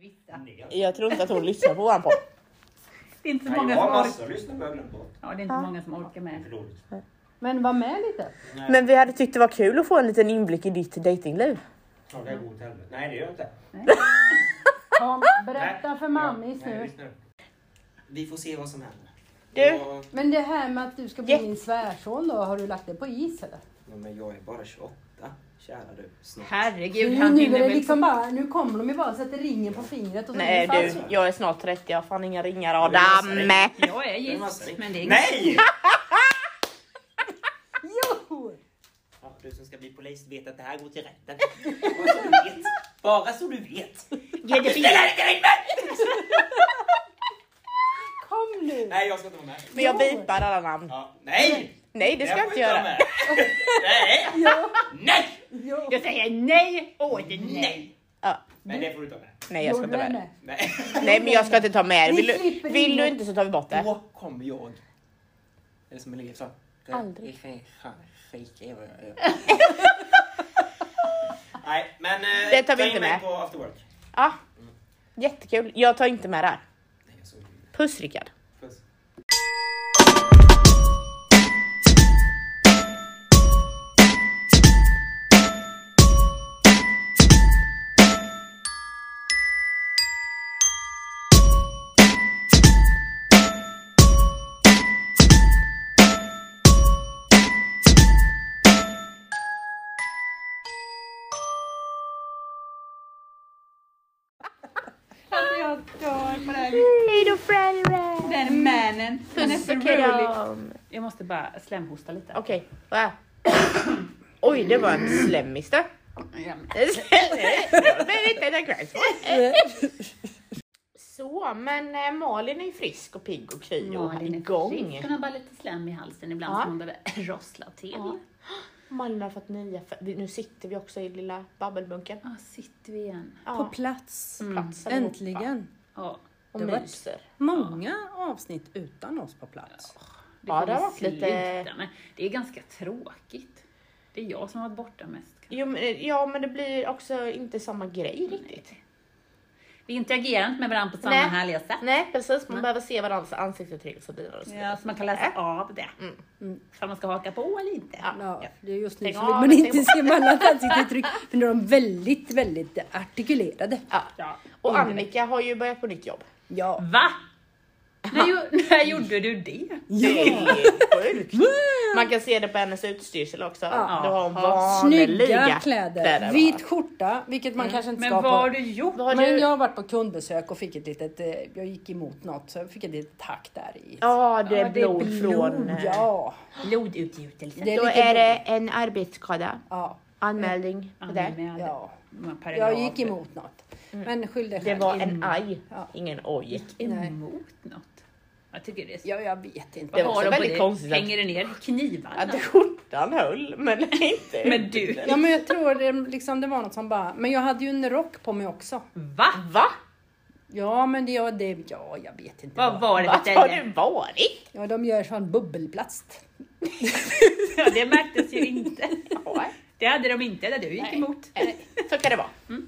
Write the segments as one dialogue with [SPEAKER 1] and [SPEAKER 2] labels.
[SPEAKER 1] Vissa.
[SPEAKER 2] Jag tror inte att hon lyssnar på våran podd.
[SPEAKER 1] Det är inte så
[SPEAKER 3] Nej,
[SPEAKER 1] många
[SPEAKER 3] jag
[SPEAKER 1] som
[SPEAKER 3] har
[SPEAKER 1] orkar.
[SPEAKER 3] massor att lyssna på, jag har glömt bort.
[SPEAKER 1] Ja, det är inte många som orkar
[SPEAKER 3] Det är
[SPEAKER 1] med.
[SPEAKER 3] för dåligt.
[SPEAKER 4] Men var med lite.
[SPEAKER 2] Men vi hade tyckt det var kul att få en liten inblick i ditt datingliv.
[SPEAKER 3] Ja, det är god helvete. Nej, det gör jag inte.
[SPEAKER 4] Kom, berätta
[SPEAKER 3] Nej,
[SPEAKER 4] för
[SPEAKER 3] jag-
[SPEAKER 4] mammis
[SPEAKER 3] nej,
[SPEAKER 4] nu.
[SPEAKER 3] lyssna. Vi får se vad som händer.
[SPEAKER 2] Du.
[SPEAKER 3] Jag,
[SPEAKER 4] Men det här med att du ska bli
[SPEAKER 2] Jätte-
[SPEAKER 4] min svärson då, har du lagt det på is eller?
[SPEAKER 3] Ja, men jag är bara 28, kära du. Snart.
[SPEAKER 1] Herregud,
[SPEAKER 4] Nu,
[SPEAKER 1] han
[SPEAKER 4] nu,
[SPEAKER 1] hinner
[SPEAKER 4] är det
[SPEAKER 1] väl...
[SPEAKER 4] liksom bara, nu kommer de ju bara och sätter ringen på fingret och så
[SPEAKER 2] Nej
[SPEAKER 4] är det
[SPEAKER 2] du,
[SPEAKER 4] fast.
[SPEAKER 2] jag är snart 30, jag har fan inga ringar
[SPEAKER 3] Jag
[SPEAKER 2] Adam.
[SPEAKER 3] vill
[SPEAKER 1] Jag är
[SPEAKER 3] Det är massa
[SPEAKER 1] gift,
[SPEAKER 3] ring.
[SPEAKER 1] men det är
[SPEAKER 3] Nej!
[SPEAKER 4] Jo!
[SPEAKER 3] Ja, du som ska bli polis vet att det här går till rätten. Bara så du vet. Bara så du vet.
[SPEAKER 1] Ge det
[SPEAKER 3] Det
[SPEAKER 1] fingret.
[SPEAKER 3] här är inte ring mig!
[SPEAKER 4] Kom nu!
[SPEAKER 3] Nej, jag ska inte vara med.
[SPEAKER 2] Men jag bipar alla namn.
[SPEAKER 3] Ja, nej!
[SPEAKER 2] Nej det ska jag
[SPEAKER 3] får
[SPEAKER 2] inte göra.
[SPEAKER 3] vara med. Nej!
[SPEAKER 4] Ja,
[SPEAKER 3] Nej!
[SPEAKER 4] ja.
[SPEAKER 1] Jag säger nej och åter nej.
[SPEAKER 2] Ja,
[SPEAKER 3] Men det får du inte vara med.
[SPEAKER 2] nej jag ska
[SPEAKER 4] Jo, du
[SPEAKER 2] inte
[SPEAKER 4] är
[SPEAKER 2] med
[SPEAKER 4] med.
[SPEAKER 2] det.
[SPEAKER 3] Nej.
[SPEAKER 2] Nej men jag ska inte ta med det. Vill,
[SPEAKER 4] Ni slipper
[SPEAKER 2] du- vill du
[SPEAKER 4] ringen.
[SPEAKER 2] inte så tar vi bort det.
[SPEAKER 3] Då kommer jag. Eller som en elev sa.
[SPEAKER 2] Aldrig.
[SPEAKER 3] Nej, men eh,
[SPEAKER 2] Det tar vi
[SPEAKER 3] ta in
[SPEAKER 2] inte
[SPEAKER 3] mig
[SPEAKER 2] med.
[SPEAKER 3] på after work.
[SPEAKER 2] Ja, jättekul. Jag tar inte med det här.
[SPEAKER 3] Nej, jag såg det.
[SPEAKER 2] Puss Rickard.
[SPEAKER 3] Puss.
[SPEAKER 1] Alltså jag dör på den.
[SPEAKER 2] Hej då föräldrar.
[SPEAKER 1] Den mannen. Han är
[SPEAKER 2] Puss
[SPEAKER 1] så
[SPEAKER 2] och
[SPEAKER 1] rolig.
[SPEAKER 2] kram.
[SPEAKER 1] Jag måste bara slemhosta lite.
[SPEAKER 2] Okej, vad är Oj det var en slemmis det.
[SPEAKER 1] Ja, men-
[SPEAKER 2] Men inte en kväll. Så, men eh, Malin är ju frisk och pigg och kry och
[SPEAKER 1] Malin är
[SPEAKER 2] igång.
[SPEAKER 1] frisk. Hon har bara lite slem i halsen ibland
[SPEAKER 2] Ja.
[SPEAKER 1] som hon behöver rossla till.
[SPEAKER 2] Ja. Malin har fått nya fö- vi- Nu sitter vi också i lilla babbelbunken.
[SPEAKER 1] Ja, sitter vi igen.
[SPEAKER 2] Ja.
[SPEAKER 5] På plats.
[SPEAKER 2] Mm. plats allihopa.
[SPEAKER 5] Äntligen.
[SPEAKER 1] Ja,
[SPEAKER 2] Och
[SPEAKER 5] Det var-
[SPEAKER 2] myser.
[SPEAKER 5] Många avsnitt utan oss på plats.
[SPEAKER 1] det
[SPEAKER 2] Ja,
[SPEAKER 1] får
[SPEAKER 2] det
[SPEAKER 1] vi
[SPEAKER 2] har varit lite-
[SPEAKER 1] sluta med. Det är ganska tråkigt. Det är jag som har varit borta mest.
[SPEAKER 2] Jo, men, eh, ja, men det blir också inte samma grej riktigt.
[SPEAKER 1] Vi interagerar inte med varandra på samma
[SPEAKER 2] Nej.
[SPEAKER 1] härliga sätt.
[SPEAKER 2] Nej, precis. Man
[SPEAKER 1] Nej.
[SPEAKER 2] behöver se varandras ansiktsuttryck och så vidare. Och så vidare.
[SPEAKER 1] Ja, så man kan läsa av det.
[SPEAKER 2] Mm.
[SPEAKER 5] Mm.
[SPEAKER 1] Så man ska haka på eller inte.
[SPEAKER 2] Ja.
[SPEAKER 5] Ja, det är just nu
[SPEAKER 2] Stäng
[SPEAKER 5] så vill
[SPEAKER 2] av,
[SPEAKER 5] man
[SPEAKER 2] stäng
[SPEAKER 5] inte
[SPEAKER 2] av.
[SPEAKER 5] se mellan ansiktsuttryck. För nu är de väldigt, väldigt artikulerade.
[SPEAKER 2] Ja.
[SPEAKER 1] Ja.
[SPEAKER 2] Och Annika har ju börjat på nytt jobb.
[SPEAKER 5] Ja.
[SPEAKER 1] Va? När, ju, när gjorde du det?
[SPEAKER 2] Det är sjukt. Man kan se det på hennes utstyrsel också.
[SPEAKER 5] Ja.
[SPEAKER 2] Då har hon
[SPEAKER 1] Ja.
[SPEAKER 5] Snygga
[SPEAKER 2] vanliga
[SPEAKER 5] kläder.
[SPEAKER 2] va?
[SPEAKER 5] Vit skjorta, vilket man kanske inte
[SPEAKER 1] Men
[SPEAKER 5] ska
[SPEAKER 1] vad har
[SPEAKER 5] ha på.
[SPEAKER 1] du gjort?
[SPEAKER 2] Vad har
[SPEAKER 5] Men
[SPEAKER 2] du?
[SPEAKER 5] jag har varit på kundbesök och fick ett litet, eh, jag gick emot något så jag fick ett litet tack där i.
[SPEAKER 2] Ja, det
[SPEAKER 1] Ja,
[SPEAKER 2] är
[SPEAKER 1] det är
[SPEAKER 2] blod, från... eh,
[SPEAKER 5] Ja.
[SPEAKER 1] Blodutgjutelse.
[SPEAKER 5] Det är
[SPEAKER 2] Då
[SPEAKER 5] lite
[SPEAKER 2] är det en arbetsskada.
[SPEAKER 5] ja.
[SPEAKER 2] Anmälning på det.
[SPEAKER 1] Anmäld.
[SPEAKER 5] Ja.
[SPEAKER 1] Många paragrafer.
[SPEAKER 5] Jag gick emot något. Men skyll dig
[SPEAKER 2] Det
[SPEAKER 5] själv.
[SPEAKER 2] var en aj,
[SPEAKER 5] Ja.
[SPEAKER 2] ingen oj.
[SPEAKER 1] Gick
[SPEAKER 5] Nej.
[SPEAKER 1] emot något. Jag tycker det är
[SPEAKER 5] Ja, jag vet inte.
[SPEAKER 2] Det
[SPEAKER 1] Vad
[SPEAKER 2] var
[SPEAKER 1] har
[SPEAKER 2] också
[SPEAKER 1] de på
[SPEAKER 2] väldigt
[SPEAKER 1] dig?
[SPEAKER 2] konstigt att-
[SPEAKER 1] Hänger det ner knivarna?
[SPEAKER 2] Att skjortan höll, men inte.
[SPEAKER 1] Men du,
[SPEAKER 5] Ja men jag tror det, liksom, det var något som bara, men jag hade ju en rock på mig också.
[SPEAKER 1] va?
[SPEAKER 2] Va?
[SPEAKER 5] Ja men det, ja, det, ja jag vet inte.
[SPEAKER 1] Vad
[SPEAKER 5] vad.
[SPEAKER 1] var det
[SPEAKER 2] Vart
[SPEAKER 1] för
[SPEAKER 2] har
[SPEAKER 1] ställe?
[SPEAKER 2] du varit?
[SPEAKER 5] Ja de gör sån bubbelplast.
[SPEAKER 1] Ja, det märktes ju inte. Det hade de inte där du gick
[SPEAKER 2] Nej.
[SPEAKER 1] emot.
[SPEAKER 2] Så kan det vara.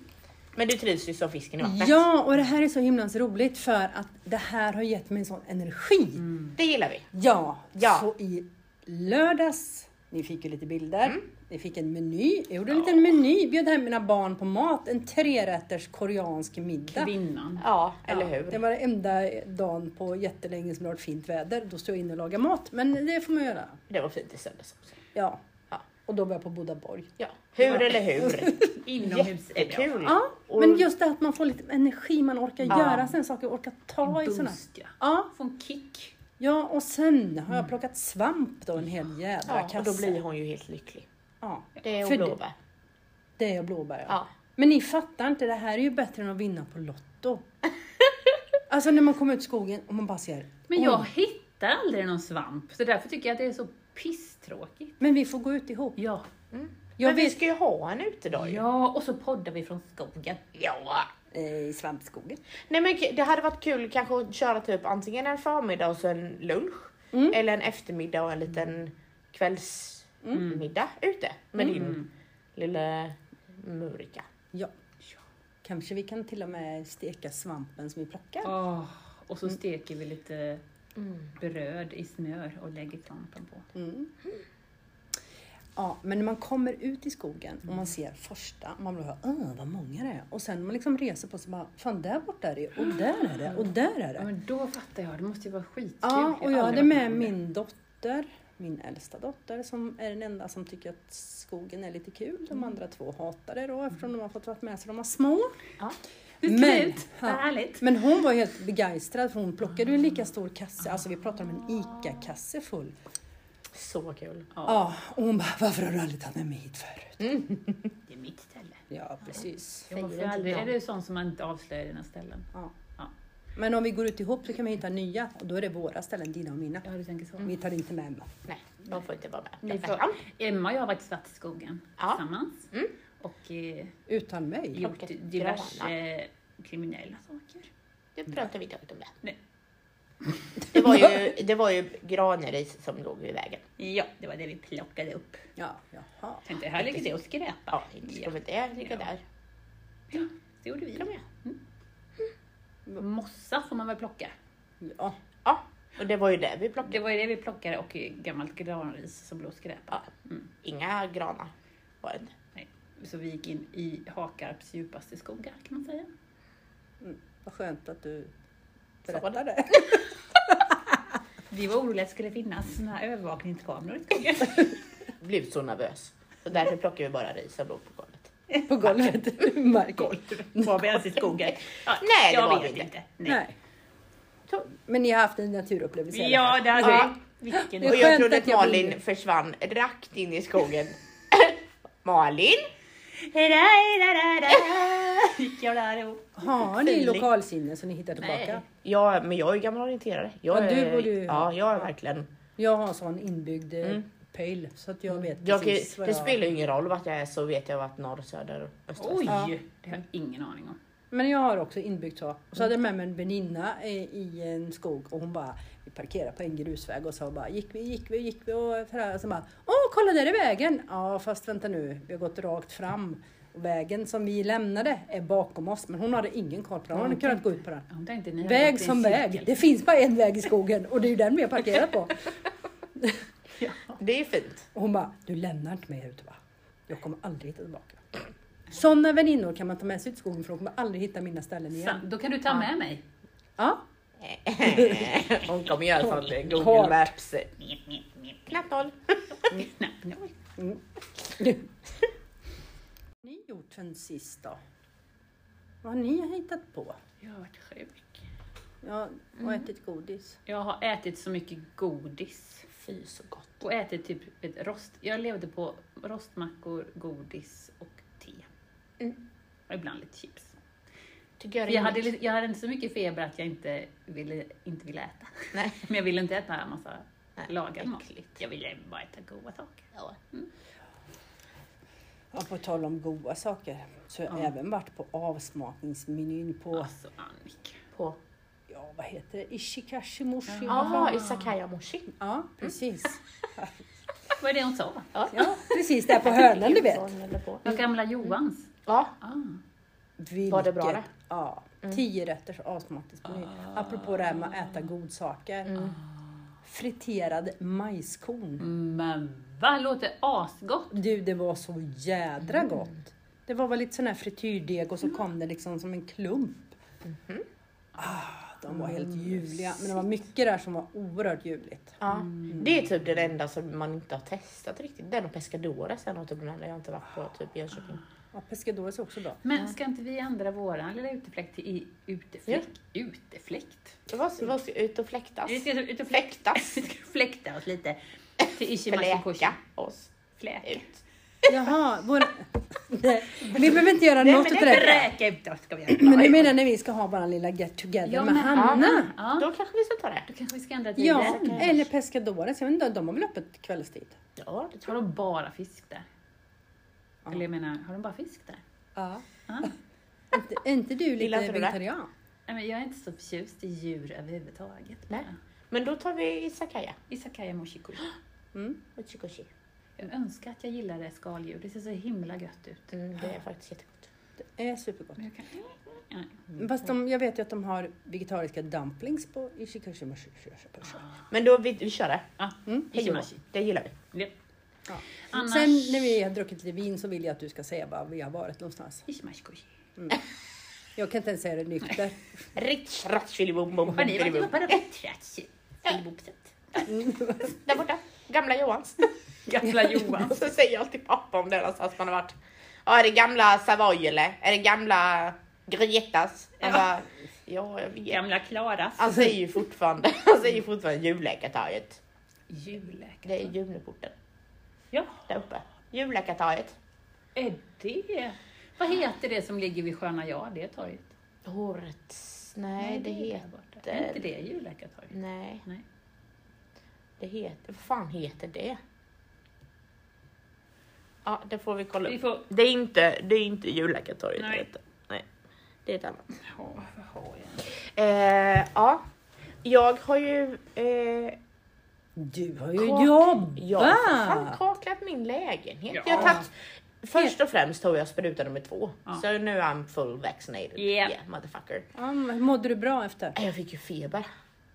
[SPEAKER 2] Men du trivs ju som fisken i vattnet.
[SPEAKER 5] Ja och det här är så himla så roligt för att det här har gett mig en sån energi.
[SPEAKER 2] Det gillar vi.
[SPEAKER 5] Ja,
[SPEAKER 2] Ja.
[SPEAKER 5] så i lördags, ni fick ju lite bilder.
[SPEAKER 2] Mm.
[SPEAKER 5] Ni fick en meny, jag gjorde en liten meny, bjöd hem mina barn på mat, en trerätters koreansk middag.
[SPEAKER 1] Kvinnan.
[SPEAKER 2] Ja, eller hur?
[SPEAKER 5] Det var den enda dagen på jättelänge som det har varit fint väder. Då står jag inne och lagar mat, men det får man göra.
[SPEAKER 2] Det var fint i söndags också.
[SPEAKER 5] Ja.
[SPEAKER 2] Ja. Mm.
[SPEAKER 5] Och då var jag på Bodaborg.
[SPEAKER 2] Ja. Hur eller hur?
[SPEAKER 1] Inomhus.
[SPEAKER 2] Jättekul.
[SPEAKER 5] Ja,
[SPEAKER 2] Och-
[SPEAKER 5] men just det att man får lite energi, man orkar
[SPEAKER 2] Ja.
[SPEAKER 5] göra sen saker, orkar ta i sådana.
[SPEAKER 1] Boost, ja.
[SPEAKER 5] Ja,
[SPEAKER 1] Få en kick.
[SPEAKER 5] ja, och sen har jag plockat svamp då, en hel jädra
[SPEAKER 2] Ja,
[SPEAKER 5] kasse.
[SPEAKER 2] och då blir hon ju helt lycklig.
[SPEAKER 5] Ja,
[SPEAKER 2] Det är
[SPEAKER 5] För
[SPEAKER 2] hon
[SPEAKER 5] det-
[SPEAKER 2] blåbär.
[SPEAKER 5] det är blåbär ja.
[SPEAKER 2] Ja.
[SPEAKER 5] Men ni fattar inte, det här är ju bättre än att vinna på Lotto. Alltså när man kommer ut i skogen och man bara ser.
[SPEAKER 1] Men jag
[SPEAKER 5] "Oj,
[SPEAKER 1] hittar aldrig någon svamp, så därför tycker jag att det är så pisstråkigt.
[SPEAKER 5] Men vi får gå ut ihop.
[SPEAKER 1] Ja.
[SPEAKER 5] Jag
[SPEAKER 2] men vi
[SPEAKER 5] vet,
[SPEAKER 2] ska ju ha en utedag ju.
[SPEAKER 1] ja, och så poddar vi från skogen.
[SPEAKER 2] Ja.
[SPEAKER 5] eh, i svampskogen.
[SPEAKER 2] Nej men k- det hade varit kul kanske att köra typ antingen en förmiddag och så en lunch.
[SPEAKER 1] Mm.
[SPEAKER 2] Eller en eftermiddag och en liten
[SPEAKER 1] Mm.
[SPEAKER 2] kvällsmiddag ute med din lilla Murika.
[SPEAKER 5] Ja. Kanske vi kan till och med steka svampen som vi plockar.
[SPEAKER 1] Åh, och så steker vi lite Mm. bröd i smör och lägger klampen på.
[SPEAKER 5] Mm. Ja, men när man kommer ut i skogen och man ser första, man blir åh vad många det är. Och sen när man liksom reser på sig bara, fan där borta är det och där är det och där är
[SPEAKER 1] Ja,
[SPEAKER 5] det.
[SPEAKER 1] men då fattar jag, det måste ju vara skitkul.
[SPEAKER 5] Ja, och
[SPEAKER 1] har
[SPEAKER 5] jag
[SPEAKER 1] aldrig
[SPEAKER 5] hade
[SPEAKER 1] varit
[SPEAKER 5] med
[SPEAKER 1] om det.
[SPEAKER 5] min dotter, min äldsta dotter som är den enda som tycker att skogen är lite kul. De andra två hatar det då eftersom de har fått vara med sig de var små.
[SPEAKER 2] Ja.
[SPEAKER 1] Hur ser det
[SPEAKER 5] Men,
[SPEAKER 1] ut? Vad
[SPEAKER 5] ja,
[SPEAKER 1] härligt.
[SPEAKER 5] men hon var helt begeistrad för hon plockade ju en lika stor kasse, alltså vi pratar om en ICA-kasse full.
[SPEAKER 2] Så kul.
[SPEAKER 5] Ja, och hon bara, varför har du aldrig tagit med mig hit förut?
[SPEAKER 1] Det är mitt ställe.
[SPEAKER 5] Ja, precis.
[SPEAKER 1] Jag
[SPEAKER 2] Säger
[SPEAKER 1] får aldrig,
[SPEAKER 2] inte
[SPEAKER 1] är det sånt som man inte avslöjar i dina ställen?
[SPEAKER 5] Men om vi går ut ihop så kan vi hitta nya och då är det våra ställen, dina och mina.
[SPEAKER 1] Ja, Mm. du tänker så.
[SPEAKER 5] Vi tar inte med Emma.
[SPEAKER 2] Nej, de får inte vara med.
[SPEAKER 1] Ni
[SPEAKER 2] Därför
[SPEAKER 1] får-
[SPEAKER 2] han
[SPEAKER 1] Emma och jag har varit i Svartskogen
[SPEAKER 2] Ja.
[SPEAKER 1] tillsammans och eh,
[SPEAKER 5] Utan mig?
[SPEAKER 1] gjort
[SPEAKER 2] Plockat
[SPEAKER 1] diverse eh, kriminella saker.
[SPEAKER 2] Det pratar vi inte högt om det.
[SPEAKER 1] Nej.
[SPEAKER 2] Det var ju, det var ju granris som låg i vägen.
[SPEAKER 1] Ja, det var det vi plockade upp.
[SPEAKER 5] Ja, jaha.
[SPEAKER 1] Tänkte, här ligger det och skräpar.
[SPEAKER 2] Ja, inte ska väl det ligga
[SPEAKER 1] Ja.
[SPEAKER 2] där.
[SPEAKER 1] Det gjorde vi.
[SPEAKER 2] Till och med.
[SPEAKER 1] Mossa får man väl plocka.
[SPEAKER 5] Ja.
[SPEAKER 2] Ja, och det var ju det vi plockade.
[SPEAKER 1] Det var ju det vi plockade och gammalt granris som låg och skräpade.
[SPEAKER 2] Inga granar var det.
[SPEAKER 1] Så vi gick in i Hakarps djupaste skogar kan man säga.
[SPEAKER 5] Vad skönt att du
[SPEAKER 2] Så
[SPEAKER 5] berättade.
[SPEAKER 1] Vi var oroliga att det skulle finnas såna här övervakningskameror i skogen.
[SPEAKER 2] Blev så nervös. Så därför plockade vi bara ris som låg på golvet.
[SPEAKER 5] På golvet. Marken.
[SPEAKER 1] Var vi ens i skogen? Ja,
[SPEAKER 2] Nej, det
[SPEAKER 1] jag
[SPEAKER 2] var vi
[SPEAKER 1] vet
[SPEAKER 2] inte.
[SPEAKER 1] Nej.
[SPEAKER 5] Nej. Men ni har haft en naturupplevelse? i alla fall.
[SPEAKER 1] Ja, det hade
[SPEAKER 2] Ja.
[SPEAKER 1] vi. Vilken
[SPEAKER 5] Det är
[SPEAKER 2] Och jag
[SPEAKER 5] skönt
[SPEAKER 2] trodde
[SPEAKER 5] att
[SPEAKER 2] att
[SPEAKER 5] jag
[SPEAKER 2] Malin
[SPEAKER 5] blir-
[SPEAKER 2] försvann rakt in i skogen. Malin!
[SPEAKER 1] Hurra, hurra, hurra, hurra. Gick jag där och...
[SPEAKER 5] Har ni
[SPEAKER 1] Fyllig.
[SPEAKER 5] lokalsinne som ni hittar tillbaka?
[SPEAKER 1] Nej.
[SPEAKER 2] Ja, men jag är ju gammal orienterare. Jag
[SPEAKER 5] Ja,
[SPEAKER 2] är,
[SPEAKER 5] du och du.
[SPEAKER 2] Ja, jag är verkligen...
[SPEAKER 5] Jag har sån inbyggd eh,
[SPEAKER 2] Mm.
[SPEAKER 5] pöjl så att jag vet
[SPEAKER 2] Jag,
[SPEAKER 5] precis vad
[SPEAKER 2] det spelar ju ingen roll vart jag är så vet jag vart norr, söder, öster,
[SPEAKER 1] Oj!
[SPEAKER 5] Ja.
[SPEAKER 1] Det har jag ingen aning om.
[SPEAKER 5] Men jag har också inbyggt så. Och så hade jag
[SPEAKER 1] Mm.
[SPEAKER 5] med mig en väninna eh, i en skog och hon bara, vi parkerade på en grusväg och så bara, gick vi, gick vi, gick vi och sådär. Och så bara, åh kolla där är vägen! Ja fast vänta nu, vi har gått rakt fram. Och vägen som vi lämnade är bakom oss men hon hade ingen koll på den, hon hade kunnat gå ut på den.
[SPEAKER 1] Jag tänkte ni hade
[SPEAKER 5] Väg
[SPEAKER 1] gått i en
[SPEAKER 5] som väg,
[SPEAKER 1] cirkel.
[SPEAKER 5] det finns bara en väg i skogen och det är ju den vi har parkerat på.
[SPEAKER 2] Det är ju fint.
[SPEAKER 5] Och hon bara, du lämnar inte mig här ute va? Jag kommer aldrig hitta tillbaka. Sådana väninnor kan man ta med sig ut i skogen för de kommer aldrig hitta mina ställen igen.
[SPEAKER 1] Sant. Då kan du ta med mig.
[SPEAKER 5] Ja,
[SPEAKER 2] Hon kommer göra sånt eh,
[SPEAKER 5] Kort.
[SPEAKER 2] Google Maps. Knappt noll.
[SPEAKER 1] Knappt noll.
[SPEAKER 5] Vad har ni gjort sen sist då? Vad har ni hittat på?
[SPEAKER 1] Jag har varit sjuk.
[SPEAKER 5] Ja, och ätit godis.
[SPEAKER 1] Jag har ätit så mycket godis.
[SPEAKER 2] Fy så gott.
[SPEAKER 1] Och ätit typ ett rost. Jag levde på rostmackor, godis och te. Och ibland lite chips.
[SPEAKER 2] Tycker jag,
[SPEAKER 1] För
[SPEAKER 2] Mm. är
[SPEAKER 1] Jag hade,
[SPEAKER 2] rimligt.
[SPEAKER 1] li- jag hade inte så mycket feber att jag inte ville, inte ville äta.
[SPEAKER 2] Nej.
[SPEAKER 1] Men jag ville inte äta en massa
[SPEAKER 2] Nej,
[SPEAKER 1] lagad mat. Jag ville bara äta goda saker.
[SPEAKER 5] Ja, på tal om goda saker så har jag
[SPEAKER 1] Ja.
[SPEAKER 5] även varit på avsmakningsmenyn på,
[SPEAKER 1] Alltså Annika.
[SPEAKER 2] På.
[SPEAKER 5] ja vad heter det, Ishikashimoshi?
[SPEAKER 2] Ja, ah, Isakaya Moshi.
[SPEAKER 5] Ja, precis.
[SPEAKER 1] Vad är det hon sa?
[SPEAKER 5] Mm. Ja, precis där på hörnan du vet.
[SPEAKER 2] Eller på.
[SPEAKER 1] Vad gamla Johans?
[SPEAKER 2] Ja,
[SPEAKER 1] Ah.
[SPEAKER 5] Vilket,
[SPEAKER 2] Var det bra Mm. Ah. det?
[SPEAKER 5] Ja, tio rätters avsmakningsmeny. Apropå det här med att äta godsaker.
[SPEAKER 2] Mm.
[SPEAKER 5] Friterad majskorn.
[SPEAKER 1] Mm. Men vad låter asgott!
[SPEAKER 5] Du, det var så jädra gott. Det var väl lite sån här frityrdeg och så kom det liksom som en klump. Ah, de var helt ljuvliga. Men det var mycket där som var oerhört ljuvligt.
[SPEAKER 2] ja.
[SPEAKER 1] Mm.
[SPEAKER 2] det är typ den enda som man inte har testat riktigt. Den och Pescadores är nog typ den enda jag inte varit på typ i Jönköping.
[SPEAKER 5] Ja, pescadores är också bra.
[SPEAKER 1] Men ska inte vi ändra våran lilla utefläkt till i- utefläkt? Utefläkt?
[SPEAKER 2] Det var, var ut och fläktas.
[SPEAKER 1] Vi ska ut och fläkta.
[SPEAKER 2] Fläktas.
[SPEAKER 1] Vi ska fläkta oss lite. Till Ishimashikoshi.
[SPEAKER 2] Fläka oss
[SPEAKER 1] Fläk.
[SPEAKER 2] ut.
[SPEAKER 5] Jaha, våra... Nej, vi behöver inte göra något åt det där.
[SPEAKER 1] Räka ut oss ska vi göra.
[SPEAKER 5] Men du menar när vi ska ha vår lilla get together
[SPEAKER 1] Ja,
[SPEAKER 5] med
[SPEAKER 1] men-
[SPEAKER 5] Hanna?
[SPEAKER 1] Ja,
[SPEAKER 2] Då kanske vi ska ta det.
[SPEAKER 1] då kanske vi ska ändra tiden.
[SPEAKER 5] Ja, eller pescadores. Jag vet inte, de har väl öppet kvällstid?
[SPEAKER 2] Ja, det tror
[SPEAKER 1] Har de bara fisk där? Eller jag menar, har de bara fisk där?
[SPEAKER 5] Ja.
[SPEAKER 1] Ja.
[SPEAKER 5] Ah. Inte- Är inte du
[SPEAKER 2] Gillar
[SPEAKER 5] lite
[SPEAKER 2] inte du det?
[SPEAKER 5] vegetarian?
[SPEAKER 1] Nej, men jag är inte så förtjust i djur överhuvudtaget.
[SPEAKER 2] Nej. jag. Men då tar vi Isakaya.
[SPEAKER 1] Isakaya Moshikuri.
[SPEAKER 2] Uchikoshi.
[SPEAKER 1] Jag önskar att jag gillade skaldjur. Det ser så himla gött ut.
[SPEAKER 2] Mm, det är faktiskt jättegott.
[SPEAKER 5] Det är supergott.
[SPEAKER 1] Men jag kan... Nej.
[SPEAKER 5] Fast de, jag vet ju att de har vegetariska dumplings på Ishikashima
[SPEAKER 2] Men då vi, vi kör det.
[SPEAKER 1] Ja,
[SPEAKER 5] Mm.
[SPEAKER 2] Hej då.
[SPEAKER 1] Hikimashi.
[SPEAKER 2] Det gillar vi.
[SPEAKER 1] Japp.
[SPEAKER 5] Ja.
[SPEAKER 2] Ah,
[SPEAKER 1] Annars...
[SPEAKER 5] Sen när vi har druckit lite vin så vill jag att du ska säga var vi har varit någonstans.
[SPEAKER 1] Hikimashi-koji.
[SPEAKER 5] Jag kan inte ens säga det nykter.
[SPEAKER 2] Rich, ratch, filibom, bom,
[SPEAKER 1] Har ni varit ihop
[SPEAKER 2] filibom.
[SPEAKER 1] på Retratch? Filbopset?
[SPEAKER 2] Där borta. Gamla Johans.
[SPEAKER 1] Gamla Johan.
[SPEAKER 2] Och så säger jag till pappa om det någonstans man har varit. Ja, är det gamla Savoy eller? Är det gamla Grietas? Han bara, ja, jag vet.
[SPEAKER 1] Gamla Klaras.
[SPEAKER 2] Han säger ju fortfarande, han säger ju fortfarande julläkartaget. Det är
[SPEAKER 1] Julläkare.
[SPEAKER 2] Juneporten
[SPEAKER 1] Ja,
[SPEAKER 2] där uppe. Julläkartaget.
[SPEAKER 1] är det... Vad heter det som ligger vid Sköna Ja, det torget?
[SPEAKER 2] Årets... Nej, det
[SPEAKER 1] är
[SPEAKER 2] heter...
[SPEAKER 1] där borta. Är inte det julläkartorget?
[SPEAKER 2] Nej.
[SPEAKER 1] Nej.
[SPEAKER 2] Det heter... Vad fan heter det? Ja, det får vi kolla
[SPEAKER 1] Vi
[SPEAKER 2] upp.
[SPEAKER 1] får...
[SPEAKER 2] Det är inte, det är inte julläkartorget
[SPEAKER 1] Nej.
[SPEAKER 2] det heter. Nej. Det är ett annat.
[SPEAKER 1] Ja, vad har jag?
[SPEAKER 2] Eh, ja. Jag har ju... Eh,
[SPEAKER 5] Du har ju
[SPEAKER 2] Kak- jag har fan
[SPEAKER 5] jobbat!
[SPEAKER 2] kaklat min lägenhet.
[SPEAKER 1] Ja.
[SPEAKER 2] Jag har tagit, först och främst tog jag spruta nummer två.
[SPEAKER 1] Ja.
[SPEAKER 2] Så nu är I'm full vaccinated.
[SPEAKER 1] Yeah.
[SPEAKER 2] motherfucker.
[SPEAKER 5] Ja, men mådde du bra efter?
[SPEAKER 2] Eh, Jag fick ju feber.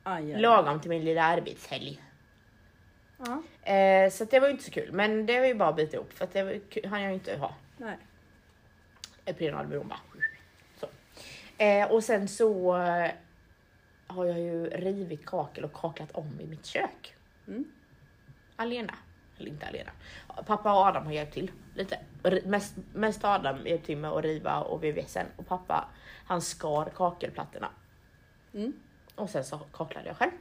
[SPEAKER 5] Aj, aj.
[SPEAKER 2] Lagom till min lilla arbetshelg.
[SPEAKER 5] Ja,
[SPEAKER 2] Eh, så att det var ju inte så kul. Men det var ju bara att bita ihop för att det var, ju- hann jag ju inte ha.
[SPEAKER 5] nej.
[SPEAKER 2] Eprenalburon bara. Så. Eh, och sen så eh, har jag ju rivit kakel och kaklat om i mitt kök.
[SPEAKER 5] Mm.
[SPEAKER 2] Alena. Eller inte alena. Pappa och Adam har hjälpt till lite. R- Mest, mest har Adam hjälpt till med att riva och VVSen och pappa han skar kakelplattorna.
[SPEAKER 5] Mm.
[SPEAKER 2] Och sen så kaklade jag själv.